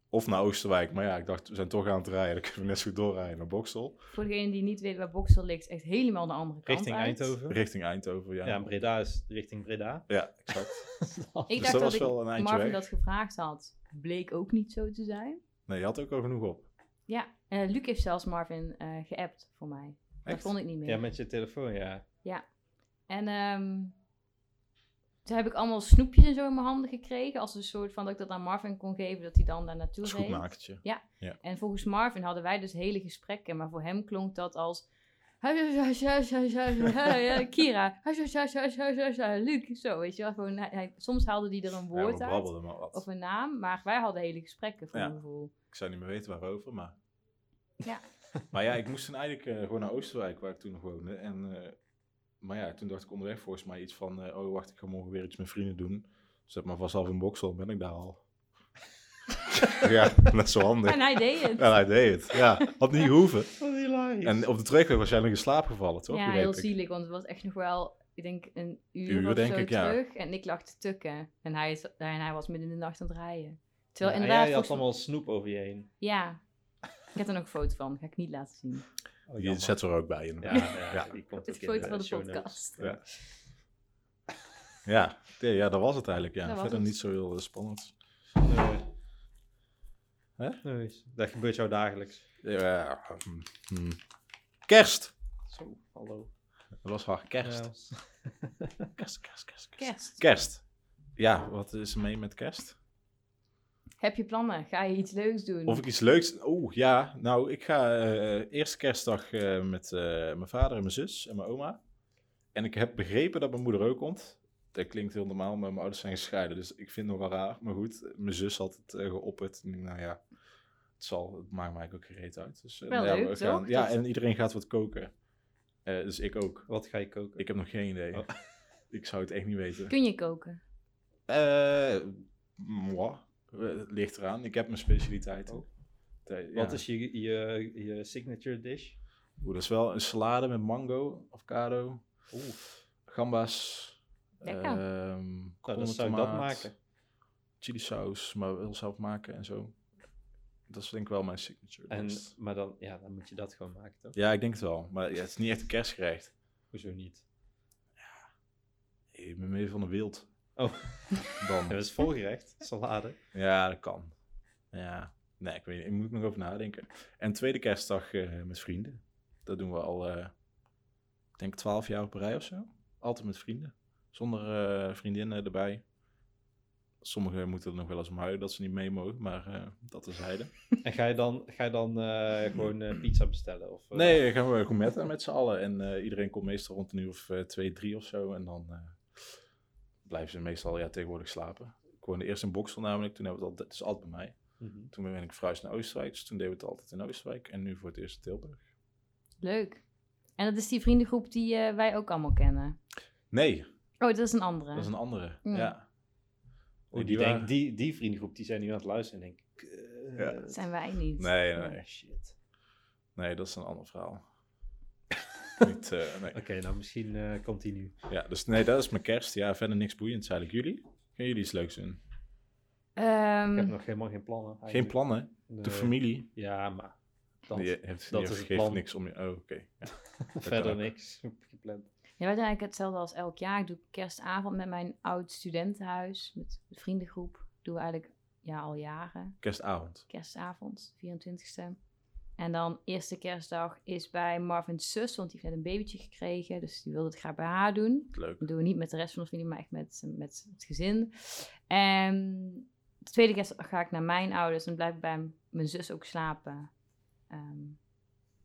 [SPEAKER 2] Of naar Oosterwijk. Maar ja, ik dacht, we zijn toch aan het rijden. Dan kunnen we net zo goed doorrijden naar Bokstel.
[SPEAKER 3] Voor degene die niet weet waar Boksel ligt, echt helemaal de andere kant
[SPEAKER 1] Richting
[SPEAKER 3] uit.
[SPEAKER 1] Eindhoven.
[SPEAKER 2] Richting Eindhoven, ja.
[SPEAKER 1] Ja, en Breda is richting Breda.
[SPEAKER 2] Ja, exact.
[SPEAKER 3] Ik
[SPEAKER 2] Dus dat
[SPEAKER 3] dacht
[SPEAKER 2] was
[SPEAKER 3] dat,
[SPEAKER 2] wel een
[SPEAKER 3] ik
[SPEAKER 2] eindje
[SPEAKER 3] Marvin
[SPEAKER 2] weg.
[SPEAKER 3] dat gevraagd had. Bleek ook niet zo te zijn.
[SPEAKER 2] Nee, je had ook al genoeg op.
[SPEAKER 3] Ja, en Luc heeft zelfs Marvin eh, geappt voor mij. Dat
[SPEAKER 2] Echt?
[SPEAKER 3] vond ik niet meer.
[SPEAKER 1] ja, met je telefoon, ja.
[SPEAKER 3] En ehm, toen heb ik allemaal snoepjes en zo in mijn handen gekregen. Als een soort van dat ik dat aan Marvin kon geven, dat hij dan daar naartoe reed.
[SPEAKER 2] Schoenmakertje.
[SPEAKER 3] En volgens Marvin hadden wij dus hele gesprekken, maar voor hem klonk dat als... "Huis, huis, huis, huis, huis, huis, huis, huis, Kira, huis, huis, huis, huis, huis, huis, huis, Luc, zo, weet je wel. Gewoon, hij- hij- soms haalde hij er een
[SPEAKER 2] Ja, we
[SPEAKER 3] woord uit
[SPEAKER 2] brabbelden maar wat.
[SPEAKER 3] of een naam, maar wij hadden hele gesprekken voor
[SPEAKER 2] Ja.
[SPEAKER 3] mijn gevoel.
[SPEAKER 2] Ik zou niet meer weten waarover, maar...
[SPEAKER 3] Ja.
[SPEAKER 2] maar ja, ik moest toen eigenlijk eh, gewoon naar Oosterwijk, waar ik toen nog woonde. En, eh, maar ja, toen dacht ik onderweg volgens mij iets van... eh, oh, wacht, ik ga morgen weer iets met vrienden doen. Zet maar vast af in Boksel, ben ik daar al. ja, net zo handig.
[SPEAKER 3] En hij deed het.
[SPEAKER 2] En hij deed het, ja. Had niet gehoeven.
[SPEAKER 1] Wat hilarisch.
[SPEAKER 2] En op de terugweg was jij nog in slaap gevallen, toch?
[SPEAKER 3] ja,
[SPEAKER 2] Begreep
[SPEAKER 3] heel
[SPEAKER 2] ik.
[SPEAKER 3] zielig, want het was echt nog wel, ik denk, een uur,
[SPEAKER 2] Uur,
[SPEAKER 3] of
[SPEAKER 2] denk
[SPEAKER 3] zo
[SPEAKER 2] ik, ja.
[SPEAKER 3] terug. En ik lag te tukken. En hij, is- en hij was midden in de nacht aan het rijden.
[SPEAKER 1] Ja,
[SPEAKER 3] Terwijl
[SPEAKER 1] en
[SPEAKER 3] inderdaad...
[SPEAKER 1] jij had
[SPEAKER 3] volgens-
[SPEAKER 1] allemaal snoep over je heen.
[SPEAKER 3] Ja, ik heb er nog een foto van, ga ik niet laten zien.
[SPEAKER 1] Oh,
[SPEAKER 2] Die
[SPEAKER 1] jammer.
[SPEAKER 2] zetten we er ook bij. In.
[SPEAKER 1] ja,
[SPEAKER 2] Ja.
[SPEAKER 1] ja,
[SPEAKER 2] Ja.
[SPEAKER 1] die komt
[SPEAKER 3] Het
[SPEAKER 1] ook in
[SPEAKER 3] foto
[SPEAKER 1] de
[SPEAKER 3] van de
[SPEAKER 1] show notes.
[SPEAKER 3] podcast.
[SPEAKER 2] Ja. Ja. nee, ja, dat was het eigenlijk. Ja.
[SPEAKER 3] Dat was
[SPEAKER 2] Verder
[SPEAKER 3] het.
[SPEAKER 2] niet zo heel eh, spannend.
[SPEAKER 1] Nee.
[SPEAKER 2] Hè?
[SPEAKER 1] Nee, dat gebeurt jou dagelijks.
[SPEAKER 2] Ja, hm, hm. Kerst!
[SPEAKER 1] Zo, hallo.
[SPEAKER 2] Dat was hard. Kerst.
[SPEAKER 1] Ja.
[SPEAKER 2] Kerst, kerst, kerst,
[SPEAKER 3] Kerst.
[SPEAKER 2] Kerst. Ja, wat is er mee met kerst?
[SPEAKER 3] Heb je plannen? Ga je iets leuks doen?
[SPEAKER 2] Of ik iets leuks... Oeh, ja. Nou, ik ga eh eerste kerstdag eh, met eh, mijn vader en mijn zus en mijn oma. En ik heb begrepen dat mijn moeder ook komt. Dat klinkt heel normaal, maar mijn ouders zijn gescheiden. Dus ik vind het nog wel raar. Maar goed, mijn zus had het eh, geopperd. En ik dacht, nou ja, het, zal, het maakt mij eigenlijk ook gereed uit. Dus, eh,
[SPEAKER 3] Wel
[SPEAKER 2] nou ja,
[SPEAKER 3] leuk,
[SPEAKER 2] we gaan-
[SPEAKER 3] toch?
[SPEAKER 2] Ja,
[SPEAKER 3] Dat-
[SPEAKER 2] en iedereen gaat wat koken. Eh, dus ik ook.
[SPEAKER 1] Wat ga je koken?
[SPEAKER 2] Ik heb nog geen idee.
[SPEAKER 1] Oh.
[SPEAKER 2] Ik zou het echt niet weten.
[SPEAKER 3] Kun je koken?
[SPEAKER 2] Eh, moi. Eh, Het ligt eraan. Ik heb mijn specialiteiten.
[SPEAKER 1] Oh.
[SPEAKER 2] Te- ja.
[SPEAKER 1] Wat is je, je, je signature dish?
[SPEAKER 2] Oeh, dat is wel een salade met mango, avocado,
[SPEAKER 1] Oeh,
[SPEAKER 2] gamba's.
[SPEAKER 3] Lekker.
[SPEAKER 2] ehm,
[SPEAKER 1] nou,
[SPEAKER 2] komkommer,
[SPEAKER 1] dan zou ik dat
[SPEAKER 2] tomaat,
[SPEAKER 1] maken.
[SPEAKER 2] Chili saus, maar wel zelf maken en zo. Dat is denk ik wel mijn signature.
[SPEAKER 1] En,
[SPEAKER 2] dish.
[SPEAKER 1] maar dan, ja, dan moet je dat gewoon maken, toch?
[SPEAKER 2] Ja, ik denk het wel. Maar ja, het is niet echt een kerstgerecht.
[SPEAKER 1] Hoezo niet?
[SPEAKER 2] Ik ben meer van de wild
[SPEAKER 1] Oh,
[SPEAKER 2] dan.
[SPEAKER 1] dat is voorgerecht. Salade.
[SPEAKER 2] Ja, dat kan. Ja, nee, ik weet niet. Ik moet er nog over nadenken. En tweede kerstdag eh, met vrienden. Dat doen we al, eh, ik denk twaalf jaar op rij of zo. Altijd met vrienden. Zonder eh, vriendinnen erbij. Sommigen moeten er nog wel eens om huilen dat ze niet mee mogen, maar eh, dat is heide.
[SPEAKER 1] En ga je dan, ga je dan eh, gewoon eh, pizza bestellen? Of, eh,
[SPEAKER 2] Nee, gaan we gourmetten met z'n allen. En eh, iedereen komt meestal rond een uur of eh, twee, drie of zo. En dan eh, blijven ze meestal ja, tegenwoordig slapen. Ik woonde eerst in Boksel namelijk. Toen hebben we het altijd, het is altijd bij mij.
[SPEAKER 1] mhm.
[SPEAKER 2] Toen ben ik verhuisd naar Oostenrijk. Dus toen deden we het altijd in Oostenrijk. En nu voor het eerst in Tilburg.
[SPEAKER 3] Leuk. En dat is die vriendengroep die eh, wij ook allemaal kennen.
[SPEAKER 2] Nee,
[SPEAKER 3] Oh, dat is een andere.
[SPEAKER 2] dat is een andere.
[SPEAKER 3] Ja.
[SPEAKER 2] Ja.
[SPEAKER 1] Oh, die,
[SPEAKER 2] waren-
[SPEAKER 1] denk, die, die vriendengroep die zijn nu aan het luisteren en denk ik... eh,
[SPEAKER 2] Ja.
[SPEAKER 3] Dat zijn wij niet.
[SPEAKER 2] Nee, nee,
[SPEAKER 1] oh,
[SPEAKER 2] nee.
[SPEAKER 1] shit.
[SPEAKER 2] Nee, dat is een ander verhaal. Niet, eh, nee.
[SPEAKER 1] Oké, nou misschien eh, komt die nu.
[SPEAKER 2] Ja, dus nee, dat is mijn kerst. Ja, verder niks boeiends eigenlijk. Jullie? Gaan jullie iets leuks doen?
[SPEAKER 3] Ehm,
[SPEAKER 1] Ik heb nog helemaal geen plannen.
[SPEAKER 2] Geen
[SPEAKER 1] eigenlijk.
[SPEAKER 2] plannen? De
[SPEAKER 1] Nee.
[SPEAKER 2] familie?
[SPEAKER 1] Ja, maar eh, dat,
[SPEAKER 2] die heeft,
[SPEAKER 1] dat
[SPEAKER 2] die
[SPEAKER 1] is het
[SPEAKER 2] geeft
[SPEAKER 1] plan.
[SPEAKER 2] niks om je... Oh, oké. Ja. kan
[SPEAKER 1] verder
[SPEAKER 2] ook.
[SPEAKER 1] niks gepland.
[SPEAKER 3] ja, wij doen eigenlijk hetzelfde als elk jaar. Ik doe kerstavond met mijn oud studentenhuis, met de vriendengroep. Doen we eigenlijk ja, al jaren.
[SPEAKER 2] Kerstavond.
[SPEAKER 3] Kerstavond, 24ste. En dan eerste kerstdag is bij Marvin's zus, want die heeft net een babytje gekregen. Dus die wilde het graag bij haar doen.
[SPEAKER 2] Leuk.
[SPEAKER 3] Dat doen we niet met de rest van de familie, maar echt met, met het gezin. En de tweede keer ga ik naar mijn ouders en blijf ik bij m- mijn zus ook slapen. Ehm,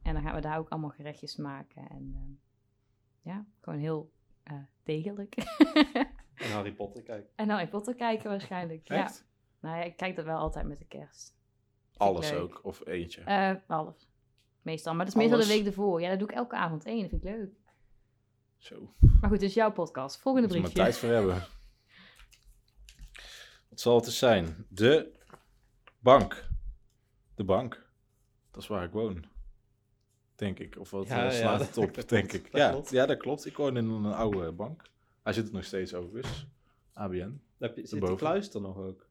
[SPEAKER 3] en dan gaan we daar ook allemaal gerechtjes maken. En ehm, ja, gewoon heel eh, degelijk.
[SPEAKER 1] En Harry Potter, kijk.
[SPEAKER 3] en dan in Potter kijken waarschijnlijk. Ja.
[SPEAKER 2] Echt?
[SPEAKER 3] Nou ja, ik kijk dat wel altijd met de kerst. Vind ik
[SPEAKER 2] Alles
[SPEAKER 3] leuk.
[SPEAKER 2] ook. Of eentje.
[SPEAKER 3] Eh, alles. Meestal. Maar dat is meestal de
[SPEAKER 2] Alles?
[SPEAKER 3] week ervoor. Ja, dat doe ik elke avond één. Dat vind ik leuk.
[SPEAKER 2] Zo.
[SPEAKER 3] Maar goed, dit is jouw podcast. Volgende
[SPEAKER 2] Moet er maar
[SPEAKER 3] briefje.
[SPEAKER 2] tijd voor hebben. Wat zal het dus zijn? De bank. De bank. Dat is waar ik woon. Denk ik. Of wat
[SPEAKER 1] Ja, ja,
[SPEAKER 2] eh, slaat
[SPEAKER 1] dat-
[SPEAKER 2] het op,
[SPEAKER 1] dat
[SPEAKER 2] denk
[SPEAKER 1] klopt.
[SPEAKER 2] ik.
[SPEAKER 1] Dat
[SPEAKER 2] ja,
[SPEAKER 1] klopt.
[SPEAKER 2] ja, dat klopt. Ik woon in een oude bank. Hij zit er nog steeds dus overigens. ABN.
[SPEAKER 1] Daar heb je- Zit die
[SPEAKER 2] Erboven.
[SPEAKER 1] kluister nog ook?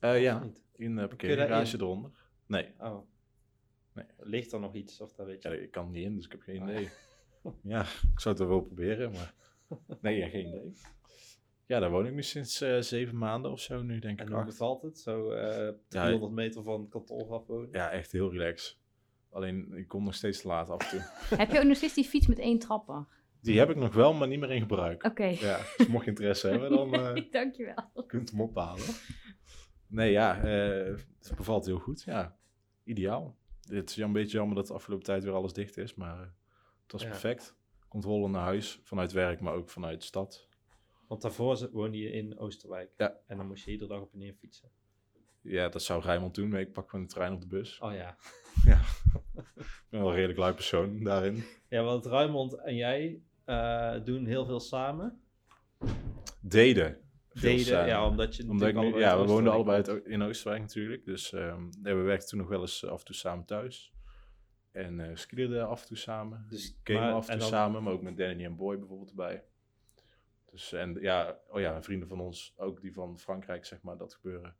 [SPEAKER 2] Eh,
[SPEAKER 1] Of
[SPEAKER 2] ja,
[SPEAKER 1] niet?
[SPEAKER 2] in de
[SPEAKER 1] je daarin?
[SPEAKER 2] parkeergarage eronder. Nee,
[SPEAKER 1] Oh.
[SPEAKER 2] Nee.
[SPEAKER 1] Ligt er nog iets of dat weet je
[SPEAKER 2] ja,
[SPEAKER 1] niet?
[SPEAKER 2] ik kan er niet in, dus ik heb geen
[SPEAKER 1] Ah.
[SPEAKER 2] idee. Ja, ik zou het wel proberen, maar... Nee, ja, geen idee. Ja, daar woon ik nu sinds eh, zeven maanden of zo nu, denk
[SPEAKER 1] En
[SPEAKER 2] ik.
[SPEAKER 1] hoe
[SPEAKER 2] acht.
[SPEAKER 1] bevalt het? Zo eh 300 meter van het kantoor af wonen?
[SPEAKER 2] Ja, echt heel relaxed. Alleen, ik kom nog steeds te laat af en toe.
[SPEAKER 3] Heb je ook nog steeds die fiets met één trapper? Oké.
[SPEAKER 2] Die heb ik nog wel, maar niet meer in gebruik. Ja, dus mocht je interesse hebben, dan eh
[SPEAKER 3] Dankjewel.
[SPEAKER 2] kunt je hem ophalen. Nee, ja, eh, het bevalt heel goed. Ja, ideaal. Het is een beetje jammer dat de afgelopen tijd weer alles dicht is, maar eh, het was
[SPEAKER 1] Ja.
[SPEAKER 2] perfect. Controle naar huis, vanuit werk, maar ook vanuit stad.
[SPEAKER 1] Want daarvoor ze- woonde je in Oosterwijk.
[SPEAKER 2] Ja.
[SPEAKER 1] En dan moest je iedere dag op en neer fietsen.
[SPEAKER 2] Ja, dat zou Rijmond doen, maar ik pak gewoon de trein op de bus.
[SPEAKER 1] Oh ja.
[SPEAKER 2] Ik ben wel een redelijk lui persoon daarin.
[SPEAKER 1] Ja, want Ruimond en jij eh, doen heel veel samen.
[SPEAKER 2] Deden. Veel
[SPEAKER 1] Deden,
[SPEAKER 2] samen.
[SPEAKER 1] ja, omdat je
[SPEAKER 2] Omdat
[SPEAKER 1] natuurlijk
[SPEAKER 2] ik nu-
[SPEAKER 1] allebei uit
[SPEAKER 2] ja, we woonden
[SPEAKER 1] Oostenrijk
[SPEAKER 2] allebei uit O- in Oostenrijk natuurlijk. Dus ehm, ja, we werkten toen nog wel eens af en toe samen thuis. En eh skierden af en toe samen.
[SPEAKER 1] Dus-
[SPEAKER 2] Dus gamen
[SPEAKER 1] maar-
[SPEAKER 2] af en
[SPEAKER 1] en
[SPEAKER 2] toe
[SPEAKER 1] dan-
[SPEAKER 2] samen, maar ook met Danny en Boy bijvoorbeeld erbij. Dus en ja, oh ja, vrienden van ons, ook die van Frankrijk, zeg maar, dat gebeuren.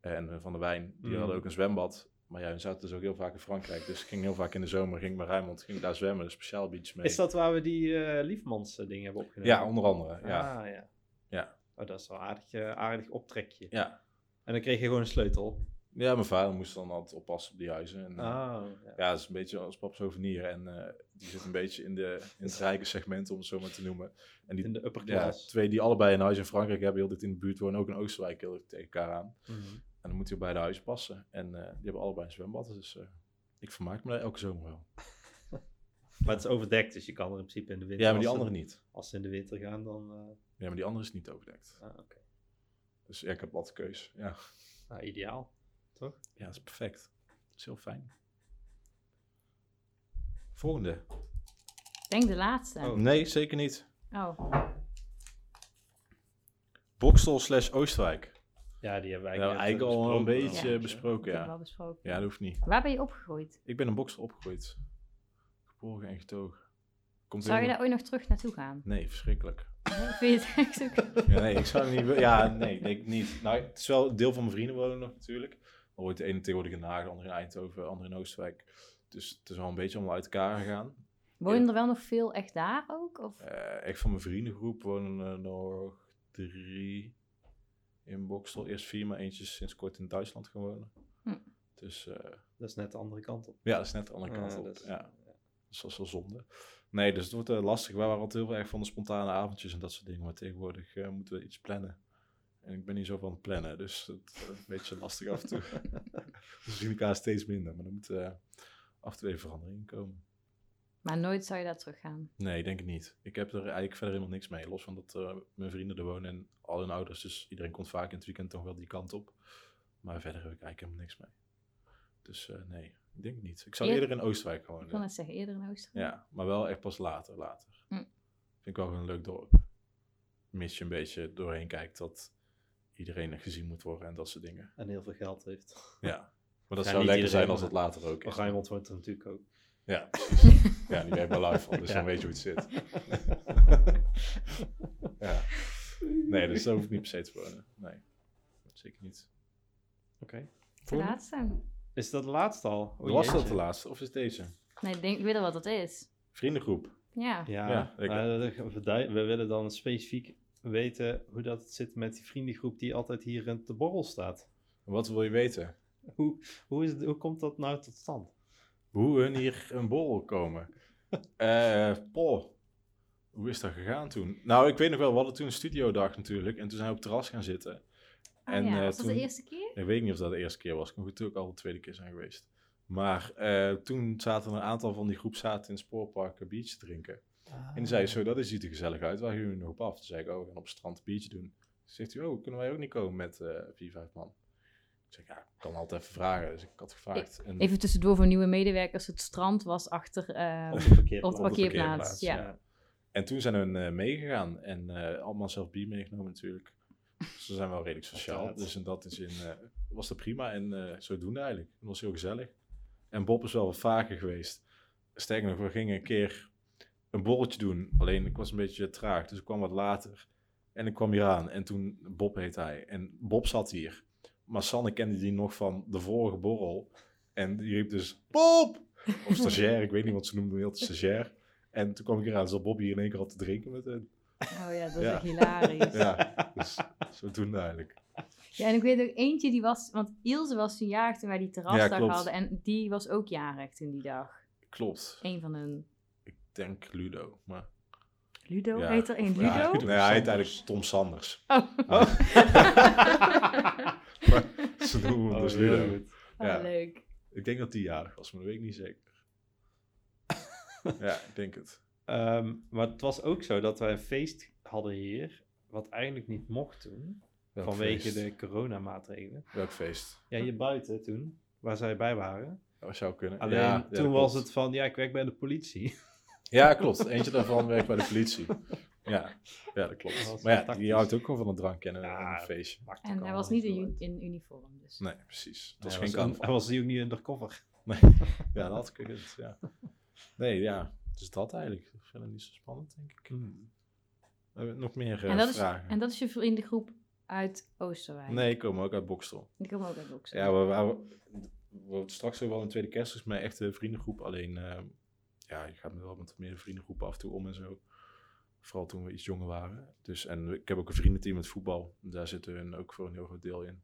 [SPEAKER 2] En eh, van de wijn, die
[SPEAKER 1] Mm.
[SPEAKER 2] hadden ook een zwembad. Maar ja, we zaten dus ook heel vaak in Frankrijk. Dus ik ging heel vaak in de zomer, ging ik naar Rijnmond, ging ik daar zwemmen, een speciaal beach mee.
[SPEAKER 1] Is dat waar we die eh, Liefmans eh, dingen hebben opgenomen?
[SPEAKER 2] Ja, onder andere. Ja,
[SPEAKER 1] Ah, ja.
[SPEAKER 2] Ja.
[SPEAKER 1] Oh, dat is wel een aardig, eh, aardig optrekje.
[SPEAKER 2] ja.
[SPEAKER 1] En dan kreeg je gewoon een sleutel.
[SPEAKER 2] ja mijn vader moest dan altijd oppassen op die huizen. En, eh,
[SPEAKER 1] Ah, ja.
[SPEAKER 2] Ja, het is een beetje als pap souvenir. En eh, die zit een beetje in, de, in het rijke segment, om het zo maar te noemen. En die
[SPEAKER 1] In de upper
[SPEAKER 2] ja,
[SPEAKER 1] class.
[SPEAKER 2] twee die allebei een huis in Frankrijk hebben, heel dit in de buurt wonen, ook in Oostenrijk heel erg tegen elkaar aan.
[SPEAKER 1] Mhm.
[SPEAKER 2] En dan moet hij op beide huizen passen. En eh, die hebben allebei een zwembad, dus eh, ik vermaak me daar elke zomer wel.
[SPEAKER 1] Maar het is overdekt, dus je kan er in principe in de winter...
[SPEAKER 2] Ja, maar die
[SPEAKER 1] als ze-
[SPEAKER 2] andere niet.
[SPEAKER 1] Als ze in de winter gaan, dan... eh,
[SPEAKER 2] Ja, maar die andere is niet overdekt.
[SPEAKER 1] ah, oké.
[SPEAKER 2] Dus ja, ik heb wat keus. Ja,
[SPEAKER 1] Nou, ideaal.
[SPEAKER 2] ja dat is perfect. Dat is heel fijn. Volgende.
[SPEAKER 3] Ik denk de laatste.
[SPEAKER 1] Oh.
[SPEAKER 2] Nee, zeker niet.
[SPEAKER 3] Oh.
[SPEAKER 2] Bokstel slash Oostenrijk.
[SPEAKER 1] Ja, die hebben wij eh,
[SPEAKER 2] We hebben eigenlijk al een beetje
[SPEAKER 3] Ja.
[SPEAKER 2] besproken,
[SPEAKER 3] Ik heb
[SPEAKER 2] ja.
[SPEAKER 3] wel besproken.
[SPEAKER 2] Ja, dat hoeft niet.
[SPEAKER 3] Waar ben je opgegroeid?
[SPEAKER 2] Ik ben een bokser opgegroeid. Geboren en getogen. Komt
[SPEAKER 3] Zou je
[SPEAKER 2] heel-
[SPEAKER 3] daar ooit nog terug naartoe gaan?
[SPEAKER 2] Nee, verschrikkelijk.
[SPEAKER 3] Vind je het echt zo-
[SPEAKER 2] Ja, nee, ik zou niet... wil- Ja, nee, denk ik niet. Nou, het is wel... Een deel van mijn vrienden wonen nog natuurlijk. Al wordt de ene tegenwoordig in Den Haag, de andere in Eindhoven, de andere in Oostenrijk. Dus het is wel een beetje allemaal uit elkaar gegaan.
[SPEAKER 3] Wonen er wel nog veel echt daar ook? Of?
[SPEAKER 2] Eh, echt van mijn vriendengroep wonen er nog drie in Boksel. Eerst vier, maar eentje is sinds kort in Duitsland gaan wonen.
[SPEAKER 3] Hm.
[SPEAKER 2] Dus eh,
[SPEAKER 1] Dat is net de andere kant op.
[SPEAKER 2] ja, dat is net de andere kant
[SPEAKER 1] Ah,
[SPEAKER 2] op.
[SPEAKER 1] dat is-
[SPEAKER 2] Ja. Dus dat is wel zonde. Nee, dus het wordt eh, lastig. Wij waren altijd heel erg van de spontane avondjes en dat soort dingen. Maar tegenwoordig eh, moeten we iets plannen. En ik ben niet zo van het plannen, dus het is een beetje lastig af en toe. Dus We zien elkaar steeds minder, maar er moet eh, af en toe even verandering in komen.
[SPEAKER 3] Maar nooit zou je daar terug gaan.
[SPEAKER 2] Nee, ik denk het niet. Ik heb er eigenlijk verder helemaal niks mee. Los van dat eh, mijn vrienden er wonen en al hun ouders. Dus iedereen komt vaak in het weekend toch wel die kant op. Maar verder heb ik eigenlijk helemaal niks mee. Dus eh, nee, ik denk het niet. Ik zou
[SPEAKER 3] Ja.
[SPEAKER 2] eerder in Oostenrijk gewoon eh,
[SPEAKER 3] Ik kan het zeggen, eerder in Oostenrijk.
[SPEAKER 2] Ja, maar wel echt pas later, later.
[SPEAKER 3] Mm.
[SPEAKER 2] Vind ik wel een leuk dorp. Mits je een beetje doorheen kijkt dat iedereen gezien moet worden en dat soort dingen.
[SPEAKER 1] En heel veel geld heeft.
[SPEAKER 2] Ja. Maar dat
[SPEAKER 1] Ja,
[SPEAKER 2] zou
[SPEAKER 1] niet
[SPEAKER 2] lekker zijn
[SPEAKER 1] iedereen,
[SPEAKER 2] als dat later ook is.
[SPEAKER 1] Maar Rijnmond wordt er natuurlijk ook.
[SPEAKER 2] Ja, precies. ja, die ben je bij live van, dus
[SPEAKER 1] Ja.
[SPEAKER 2] dan weet je hoe het zit. ja. Nee, dus daar hoef ik niet per se te wonen. Nee, zeker niet.
[SPEAKER 1] Oké.
[SPEAKER 3] De laatste.
[SPEAKER 1] Is dat de laatste al? O,
[SPEAKER 2] Was dat
[SPEAKER 1] Oh, jeetje.
[SPEAKER 2] de laatste? Of is deze?
[SPEAKER 3] Nee, ik, denk, ik weet al wat dat is.
[SPEAKER 2] Vriendengroep.
[SPEAKER 3] Ja.
[SPEAKER 1] Ja,
[SPEAKER 2] Ja, ik-
[SPEAKER 1] maar dat- we verdui- we willen dan specifiek weten hoe dat zit met die vriendengroep die altijd hier in de borrel staat.
[SPEAKER 2] Wat wil je weten?
[SPEAKER 1] Hoe, is het, hoe komt dat nou tot stand?
[SPEAKER 2] hoe hun hier een borrel komen. Eh, poh. Hoe is dat gegaan toen? Nou, ik weet nog wel, we hadden toen een studiodag natuurlijk. En toen zijn we op het terras gaan zitten.
[SPEAKER 3] Ah,
[SPEAKER 2] En,
[SPEAKER 3] ja.
[SPEAKER 2] eh,
[SPEAKER 3] Was dat
[SPEAKER 2] toen-
[SPEAKER 3] de eerste keer?
[SPEAKER 2] Ik weet niet of dat de eerste keer was. Ik moet natuurlijk al de tweede keer zijn geweest. Maar eh, toen zaten er een aantal van die groep zaten in het spoorpark een biertje te drinken. En die zei, zo, dat ziet er gezellig uit. Waar gaan jullie nog op af? Toen zei ik, oh, we gaan op het strand een biertje doen. Toen zegt hij, oh, kunnen wij ook niet komen met eh vier, vijf man? Ik zeg, ja, ik kan altijd even vragen. Dus ik had gevraagd. En-
[SPEAKER 3] Even tussendoor voor nieuwe medewerkers. Het strand was achter... eh,
[SPEAKER 1] op de parkeerplaats.
[SPEAKER 3] op de parkeerplaats, ja.
[SPEAKER 2] En toen zijn hun eh, meegegaan en eh, allemaal zelf bier meegenomen natuurlijk. Dus ze zijn wel redelijk sociaal.
[SPEAKER 1] Uiteraard.
[SPEAKER 2] Dus in dat zin eh, was dat prima en eh, zodoende eigenlijk. Het was heel gezellig. En Bob is wel wat vaker geweest. Sterker nog, we gingen een keer een borreltje doen. Alleen ik was een beetje traag, dus ik kwam wat later. En ik kwam hier aan en toen, Bob heet hij. En Bob zat hier. Maar Sanne kende die nog van de vorige borrel. En die riep dus, Bob! Of stagiair, ik weet niet wat ze noemden, heel de stagiair. En toen kwam ik eraan, zat Bob hier in één keer al te drinken met hen.
[SPEAKER 3] Oh ja, dat is
[SPEAKER 2] Ja.
[SPEAKER 3] echt hilarisch. Ja.
[SPEAKER 2] Ja, dus zo toen eigenlijk.
[SPEAKER 3] en ik weet ook eentje die was... Want Ilse was toen jarig toen wij die terrasdag
[SPEAKER 2] klopt.
[SPEAKER 3] hadden. En die was ook jarig toen die dag.
[SPEAKER 2] Klopt.
[SPEAKER 3] Eén van hun.
[SPEAKER 2] Ik denk Ludo, maar...
[SPEAKER 3] Ludo
[SPEAKER 2] Ja.
[SPEAKER 3] heet er één. Ludo?
[SPEAKER 2] Ja, nee, hij
[SPEAKER 1] Sanders.
[SPEAKER 2] heet eigenlijk Tom Sanders.
[SPEAKER 3] Oh.
[SPEAKER 2] Oh. Maar ze noemen hem
[SPEAKER 1] Oh,
[SPEAKER 2] dus
[SPEAKER 1] heel
[SPEAKER 2] Ludo.
[SPEAKER 1] goed.
[SPEAKER 3] Oh,
[SPEAKER 2] Ja.
[SPEAKER 3] leuk.
[SPEAKER 2] Ik denk dat die jarig was, maar dat weet ik niet zeker. ja, ik denk het.
[SPEAKER 1] Ehm, maar het was ook zo dat wij een feest hadden hier, wat eigenlijk niet mocht toen,
[SPEAKER 2] Welk
[SPEAKER 1] vanwege
[SPEAKER 2] feest?
[SPEAKER 1] de coronamaatregelen.
[SPEAKER 2] Welk feest?
[SPEAKER 1] Ja, hier buiten toen, waar zij bij waren.
[SPEAKER 2] Dat zou kunnen.
[SPEAKER 1] Alleen
[SPEAKER 2] Ja, ja, dat
[SPEAKER 1] toen was
[SPEAKER 2] klopt.
[SPEAKER 1] het van, ja, ik werk bij de politie.
[SPEAKER 2] Ja, klopt. Eentje daarvan werkt bij de politie. Ja, ja dat
[SPEAKER 1] Dat was
[SPEAKER 2] klopt. Maar ja,
[SPEAKER 1] tactisch.
[SPEAKER 2] die houdt ook gewoon van een drank en een,
[SPEAKER 1] Ja,
[SPEAKER 2] en een feestje.
[SPEAKER 3] En hij was niet in, ju- in uniform, dus.
[SPEAKER 2] Nee, precies. Dat
[SPEAKER 1] Dat was
[SPEAKER 2] is geen
[SPEAKER 1] geen
[SPEAKER 2] carnaval.
[SPEAKER 1] Hij was hier ook niet undercover.
[SPEAKER 2] Ja, dat had gekund, ja. Nee, ja. Dus dat eigenlijk. Ik vind het niet zo spannend, denk ik. Hebben we nog meer eh,
[SPEAKER 3] en, dat is,
[SPEAKER 2] vragen?
[SPEAKER 3] en dat is je vriendengroep uit Oostenrijk.
[SPEAKER 2] Nee, ik kom ook uit Bokstel.
[SPEAKER 3] Ik kom ook uit Boksel.
[SPEAKER 2] Ja, we, we, we, we- straks ook wel een tweede kerst, dus mijn echte vriendengroep. Alleen, eh, ja, je gaat me wel met meer vriendengroepen af en toe om en zo. Vooral toen we iets jonger waren. Dus, en ik heb ook een vriendenteam met voetbal. Daar zitten hun ook voor een heel groot deel in.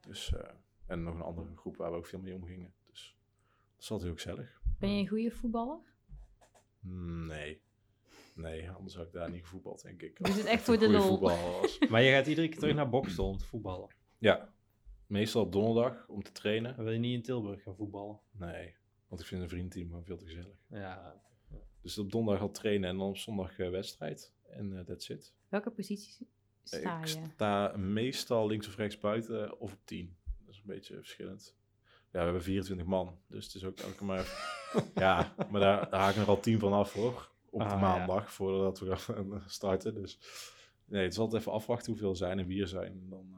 [SPEAKER 2] Dus, eh, en nog een andere groep waar we ook veel mee omgingen. Dus dat is altijd heel gezellig.
[SPEAKER 3] Ben je een goede voetballer?
[SPEAKER 2] Nee. Nee, anders had ik daar niet gevoetbald, denk ik.
[SPEAKER 3] Je doet het echt
[SPEAKER 2] een
[SPEAKER 3] Dus voor
[SPEAKER 2] goede
[SPEAKER 3] de lol.
[SPEAKER 2] voetballer was.
[SPEAKER 1] Maar je gaat iedere keer terug naar Boksel om te voetballen.
[SPEAKER 2] Ja. Meestal op donderdag om te trainen.
[SPEAKER 1] Dan wil je niet in Tilburg gaan voetballen.
[SPEAKER 2] Nee, want ik vind een vriendenteam gewoon veel te gezellig.
[SPEAKER 1] Ja,
[SPEAKER 2] Dus op donderdag al trainen en dan op zondag eh, wedstrijd. En eh that's it.
[SPEAKER 3] Welke positie sta
[SPEAKER 2] ik
[SPEAKER 3] je?
[SPEAKER 2] sta meestal links of rechts buiten of op 10. Dat is een beetje verschillend. Ja, we hebben 24 man, dus het is ook elke maar... ja, maar daar, daar haken er al 10 van af, hoor. Op de
[SPEAKER 1] Ah,
[SPEAKER 2] maandag, voordat we gaan starten. Dus nee, het is altijd even afwachten hoeveel er zijn en wie er zijn. En Dan,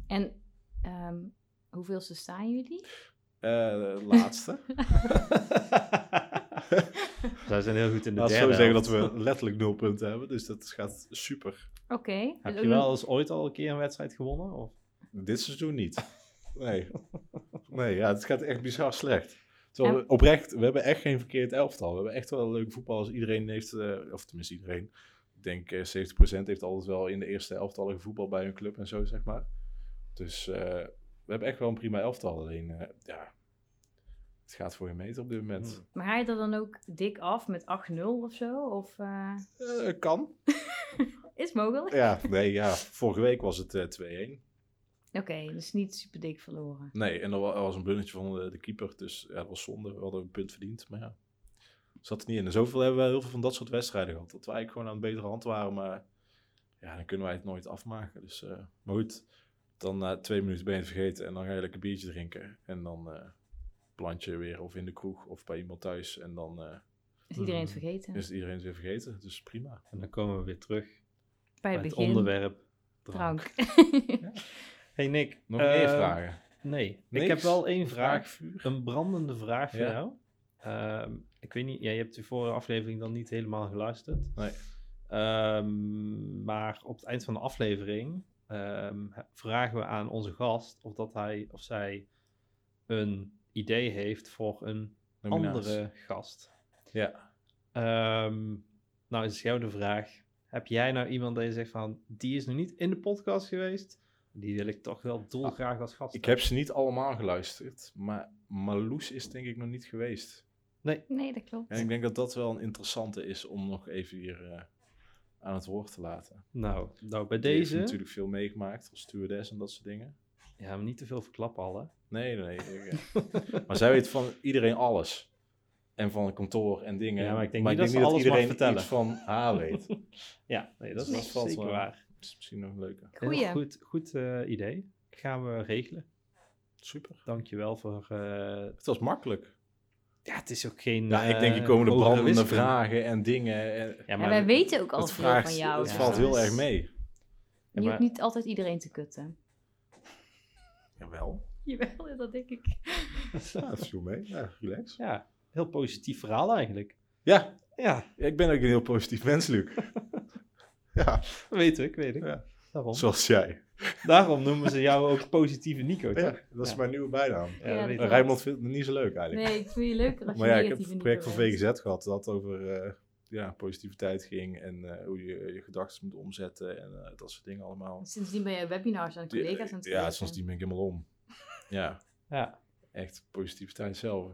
[SPEAKER 2] eh,
[SPEAKER 3] En ehm hoeveelste staan jullie?
[SPEAKER 2] Eh, de laatste.
[SPEAKER 1] Zij zijn heel goed in de
[SPEAKER 2] Laten we zo
[SPEAKER 1] derde
[SPEAKER 2] zeggen dat
[SPEAKER 1] helft.
[SPEAKER 2] we letterlijk nul punten hebben, dus dat gaat super.
[SPEAKER 3] Oké.
[SPEAKER 1] Heb
[SPEAKER 3] dus
[SPEAKER 1] je
[SPEAKER 3] ook
[SPEAKER 1] wel
[SPEAKER 3] nog-
[SPEAKER 1] eens ooit al een keer een wedstrijd gewonnen? Of?
[SPEAKER 2] Dit seizoen niet. Nee. Nee, ja, het gaat echt bizar slecht. Terwijl
[SPEAKER 3] Ja.
[SPEAKER 2] we, oprecht, we hebben echt geen verkeerd elftal. We hebben echt wel een leuke voetballers. Iedereen heeft, eh, of tenminste iedereen, ik denk eh, 70% heeft altijd wel in de eerste elftal gevoetbal bij hun club en zo, zeg maar. Dus eh, we hebben echt wel een prima elftal. Alleen, eh, ja, het gaat voor je meter op dit moment.
[SPEAKER 3] Maar ga je dat dan ook dik af met 8-0 of zo? Of, eh,
[SPEAKER 2] Eh, kan.
[SPEAKER 3] Is mogelijk.
[SPEAKER 2] Ja, nee, ja. Vorige week was het eh 2-1.
[SPEAKER 3] Oké, dus niet super dik verloren.
[SPEAKER 2] Nee, en er wa- er was een blundertje van de, de keeper. Dus ja, dat was zonde. We hadden een punt verdiend. Maar ja, zat er niet in. En zoveel hebben we heel veel van dat soort wedstrijden gehad. Dat wij eigenlijk gewoon aan de betere hand waren. Maar ja, dan kunnen wij het nooit afmaken. Dus, eh, maar goed, dan na twee minuten ben je het vergeten. En dan ga je lekker biertje drinken. En dan eh plant je weer of in de kroeg of bij iemand thuis. En dan eh,
[SPEAKER 3] Is iedereen het
[SPEAKER 1] Mhm.
[SPEAKER 3] vergeten?
[SPEAKER 2] is het iedereen het weer vergeten. Dus prima.
[SPEAKER 1] En dan komen we weer terug
[SPEAKER 3] Bij
[SPEAKER 1] bij
[SPEAKER 3] het
[SPEAKER 1] het
[SPEAKER 3] begin.
[SPEAKER 1] onderwerp drank.
[SPEAKER 3] Drank.
[SPEAKER 1] Hey Nick.
[SPEAKER 2] Nog meer
[SPEAKER 1] eh,
[SPEAKER 2] vragen?
[SPEAKER 1] Nee,
[SPEAKER 2] Niks?
[SPEAKER 1] ik heb wel één vraag.
[SPEAKER 2] Vraagvuur?
[SPEAKER 1] Een brandende vraag voor
[SPEAKER 2] Ja.
[SPEAKER 1] jou. Ehm, ik weet niet, ja, je hebt de vorige aflevering dan niet helemaal geluisterd.
[SPEAKER 2] Nee.
[SPEAKER 1] Ehm, maar op het eind van de aflevering ehm, he- vragen we aan onze gast of dat hij of zij een idee heeft voor een
[SPEAKER 2] Nominatie.
[SPEAKER 1] andere gast.
[SPEAKER 2] Ja.
[SPEAKER 1] Ehm, nou is jou de vraag. Heb jij nou iemand die zegt van, die is nog niet in de podcast geweest, die wil ik toch wel dolgraag als gast
[SPEAKER 2] Ah, Ik
[SPEAKER 1] hebben?
[SPEAKER 2] heb ze niet allemaal geluisterd, maar Marloes is denk ik nog niet geweest.
[SPEAKER 3] Nee, dat klopt.
[SPEAKER 2] En ik denk dat dat wel een interessante is om nog even hier eh, aan het woord te laten.
[SPEAKER 1] Nou, nou bij
[SPEAKER 2] Die heeft
[SPEAKER 1] deze...
[SPEAKER 2] natuurlijk veel meegemaakt als stewardess en dat soort dingen.
[SPEAKER 1] Ja, maar niet te veel verklappen al, hè?
[SPEAKER 2] Nee, nee. nee ik, eh, maar zij weet van iedereen alles. En van het kantoor en dingen.
[SPEAKER 1] Ja, maar ik denk niet dat ze alles mag
[SPEAKER 2] iedereen
[SPEAKER 1] vertellen.
[SPEAKER 2] iets van haar weet.
[SPEAKER 1] Ja, nee, dat is
[SPEAKER 2] Nee.
[SPEAKER 1] vast
[SPEAKER 2] Zeker
[SPEAKER 1] wel waar.
[SPEAKER 2] Dat is misschien nog een leuke.
[SPEAKER 1] Heel
[SPEAKER 3] Goeie.
[SPEAKER 1] Goed, goed eh, idee. Gaan we regelen.
[SPEAKER 2] Super.
[SPEAKER 1] Dankjewel voor... eh,
[SPEAKER 2] Het was makkelijk.
[SPEAKER 1] ja, het is ook geen...
[SPEAKER 2] Nou, ik
[SPEAKER 1] eh,
[SPEAKER 2] denk, er komen de
[SPEAKER 1] hogere
[SPEAKER 2] brandende
[SPEAKER 1] wiskunde.
[SPEAKER 2] vragen en dingen. En,
[SPEAKER 1] Ja,
[SPEAKER 3] En
[SPEAKER 1] maar
[SPEAKER 3] wij weten ook al
[SPEAKER 2] dat
[SPEAKER 3] veel
[SPEAKER 2] vraagt,
[SPEAKER 3] van jou.
[SPEAKER 2] dat
[SPEAKER 3] dus
[SPEAKER 2] valt heel
[SPEAKER 3] is-
[SPEAKER 2] erg
[SPEAKER 1] Ja,
[SPEAKER 2] mee.
[SPEAKER 3] Je hoeft
[SPEAKER 1] maar-
[SPEAKER 3] niet altijd iedereen te kutten.
[SPEAKER 2] Jawel.
[SPEAKER 3] Jawel, dat denk ik.
[SPEAKER 2] Ja, dat viel mee. Ja, relax.
[SPEAKER 1] Ja, heel positief verhaal eigenlijk.
[SPEAKER 2] Ja,
[SPEAKER 1] Ja,
[SPEAKER 2] ik ben ook een heel positief mens, Luc. ja,
[SPEAKER 1] weet ik, weet ik.
[SPEAKER 2] Ja.
[SPEAKER 1] Daarom.
[SPEAKER 2] zoals jij.
[SPEAKER 1] Daarom noemen ze jou ook positieve Nico, toch?
[SPEAKER 2] Oh Ja, dat is
[SPEAKER 1] Ja.
[SPEAKER 2] mijn nieuwe bijnaam.
[SPEAKER 1] Ja, dat
[SPEAKER 3] dat
[SPEAKER 1] weet ik.
[SPEAKER 3] klopt.
[SPEAKER 2] Rijmond Eh, vindt me niet zo leuk eigenlijk.
[SPEAKER 3] Nee, ik vind je leuker als je
[SPEAKER 2] maar ja, ik heb
[SPEAKER 3] negatief
[SPEAKER 2] het
[SPEAKER 3] en
[SPEAKER 2] project van
[SPEAKER 3] niet
[SPEAKER 2] VGZ gehad dat over eh, ja, positiviteit ging en eh, hoe je je gedachten moet omzetten en eh, dat soort dingen allemaal.
[SPEAKER 3] bent. Sindsdien ben je webinars aan collega's aan het
[SPEAKER 2] ja,
[SPEAKER 3] geven.
[SPEAKER 2] soms die ben ik helemaal om. Ja,
[SPEAKER 1] Ja.
[SPEAKER 2] echt positiviteit zelf.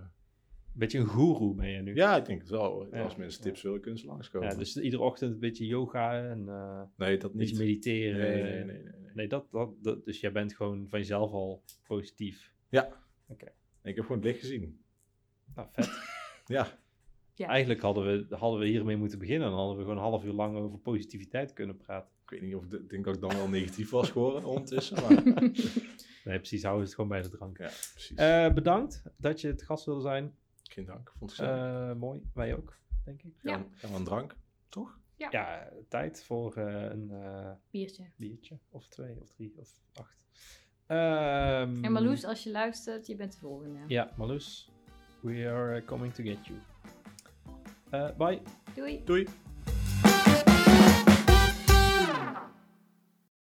[SPEAKER 1] Beetje een goeroe ben je nu.
[SPEAKER 2] Ja, ik denk het wel. hoor.
[SPEAKER 1] Ja.
[SPEAKER 2] Als mensen tips willen, kunnen ze langskomen.
[SPEAKER 1] Ja, dus iedere ochtend een beetje yoga en eh,
[SPEAKER 2] nee, dat
[SPEAKER 1] een beetje eh,
[SPEAKER 2] niet.
[SPEAKER 1] mediteren.
[SPEAKER 2] nee, nee, nee, nee, nee.
[SPEAKER 1] Nee, dat, dat, dat, dus jij bent gewoon van jezelf al positief.
[SPEAKER 2] Ik heb gewoon het licht gezien.
[SPEAKER 1] Nou, vet.
[SPEAKER 2] Ja,
[SPEAKER 1] Eigenlijk hadden we, hadden we hiermee moeten beginnen. Dan hadden we gewoon een half uur lang over positiviteit kunnen praten.
[SPEAKER 2] ik weet niet of ik ik denk dat ik dan wel negatief was geworden ondertussen. Maar
[SPEAKER 1] Nee, precies. Houden we het gewoon bij de drank.
[SPEAKER 2] ja, precies.
[SPEAKER 1] Eh, bedankt dat je het gast wilde zijn.
[SPEAKER 2] Geen dank, vond ik zelf.
[SPEAKER 1] Eh, mooi. Wij ook, denk ik.
[SPEAKER 3] Ja.
[SPEAKER 2] Gaan, we- gaan we een drank, toch?
[SPEAKER 1] Ja, tijd voor eh, een eh,
[SPEAKER 3] Biertje.
[SPEAKER 1] biertje. Of twee, of drie, of acht. Ehm,
[SPEAKER 3] En Marloes, als je luistert, je bent de volgende.
[SPEAKER 1] Ja, Marloes. We are coming to get you. Eh, bye.
[SPEAKER 3] Doei.
[SPEAKER 2] Doei!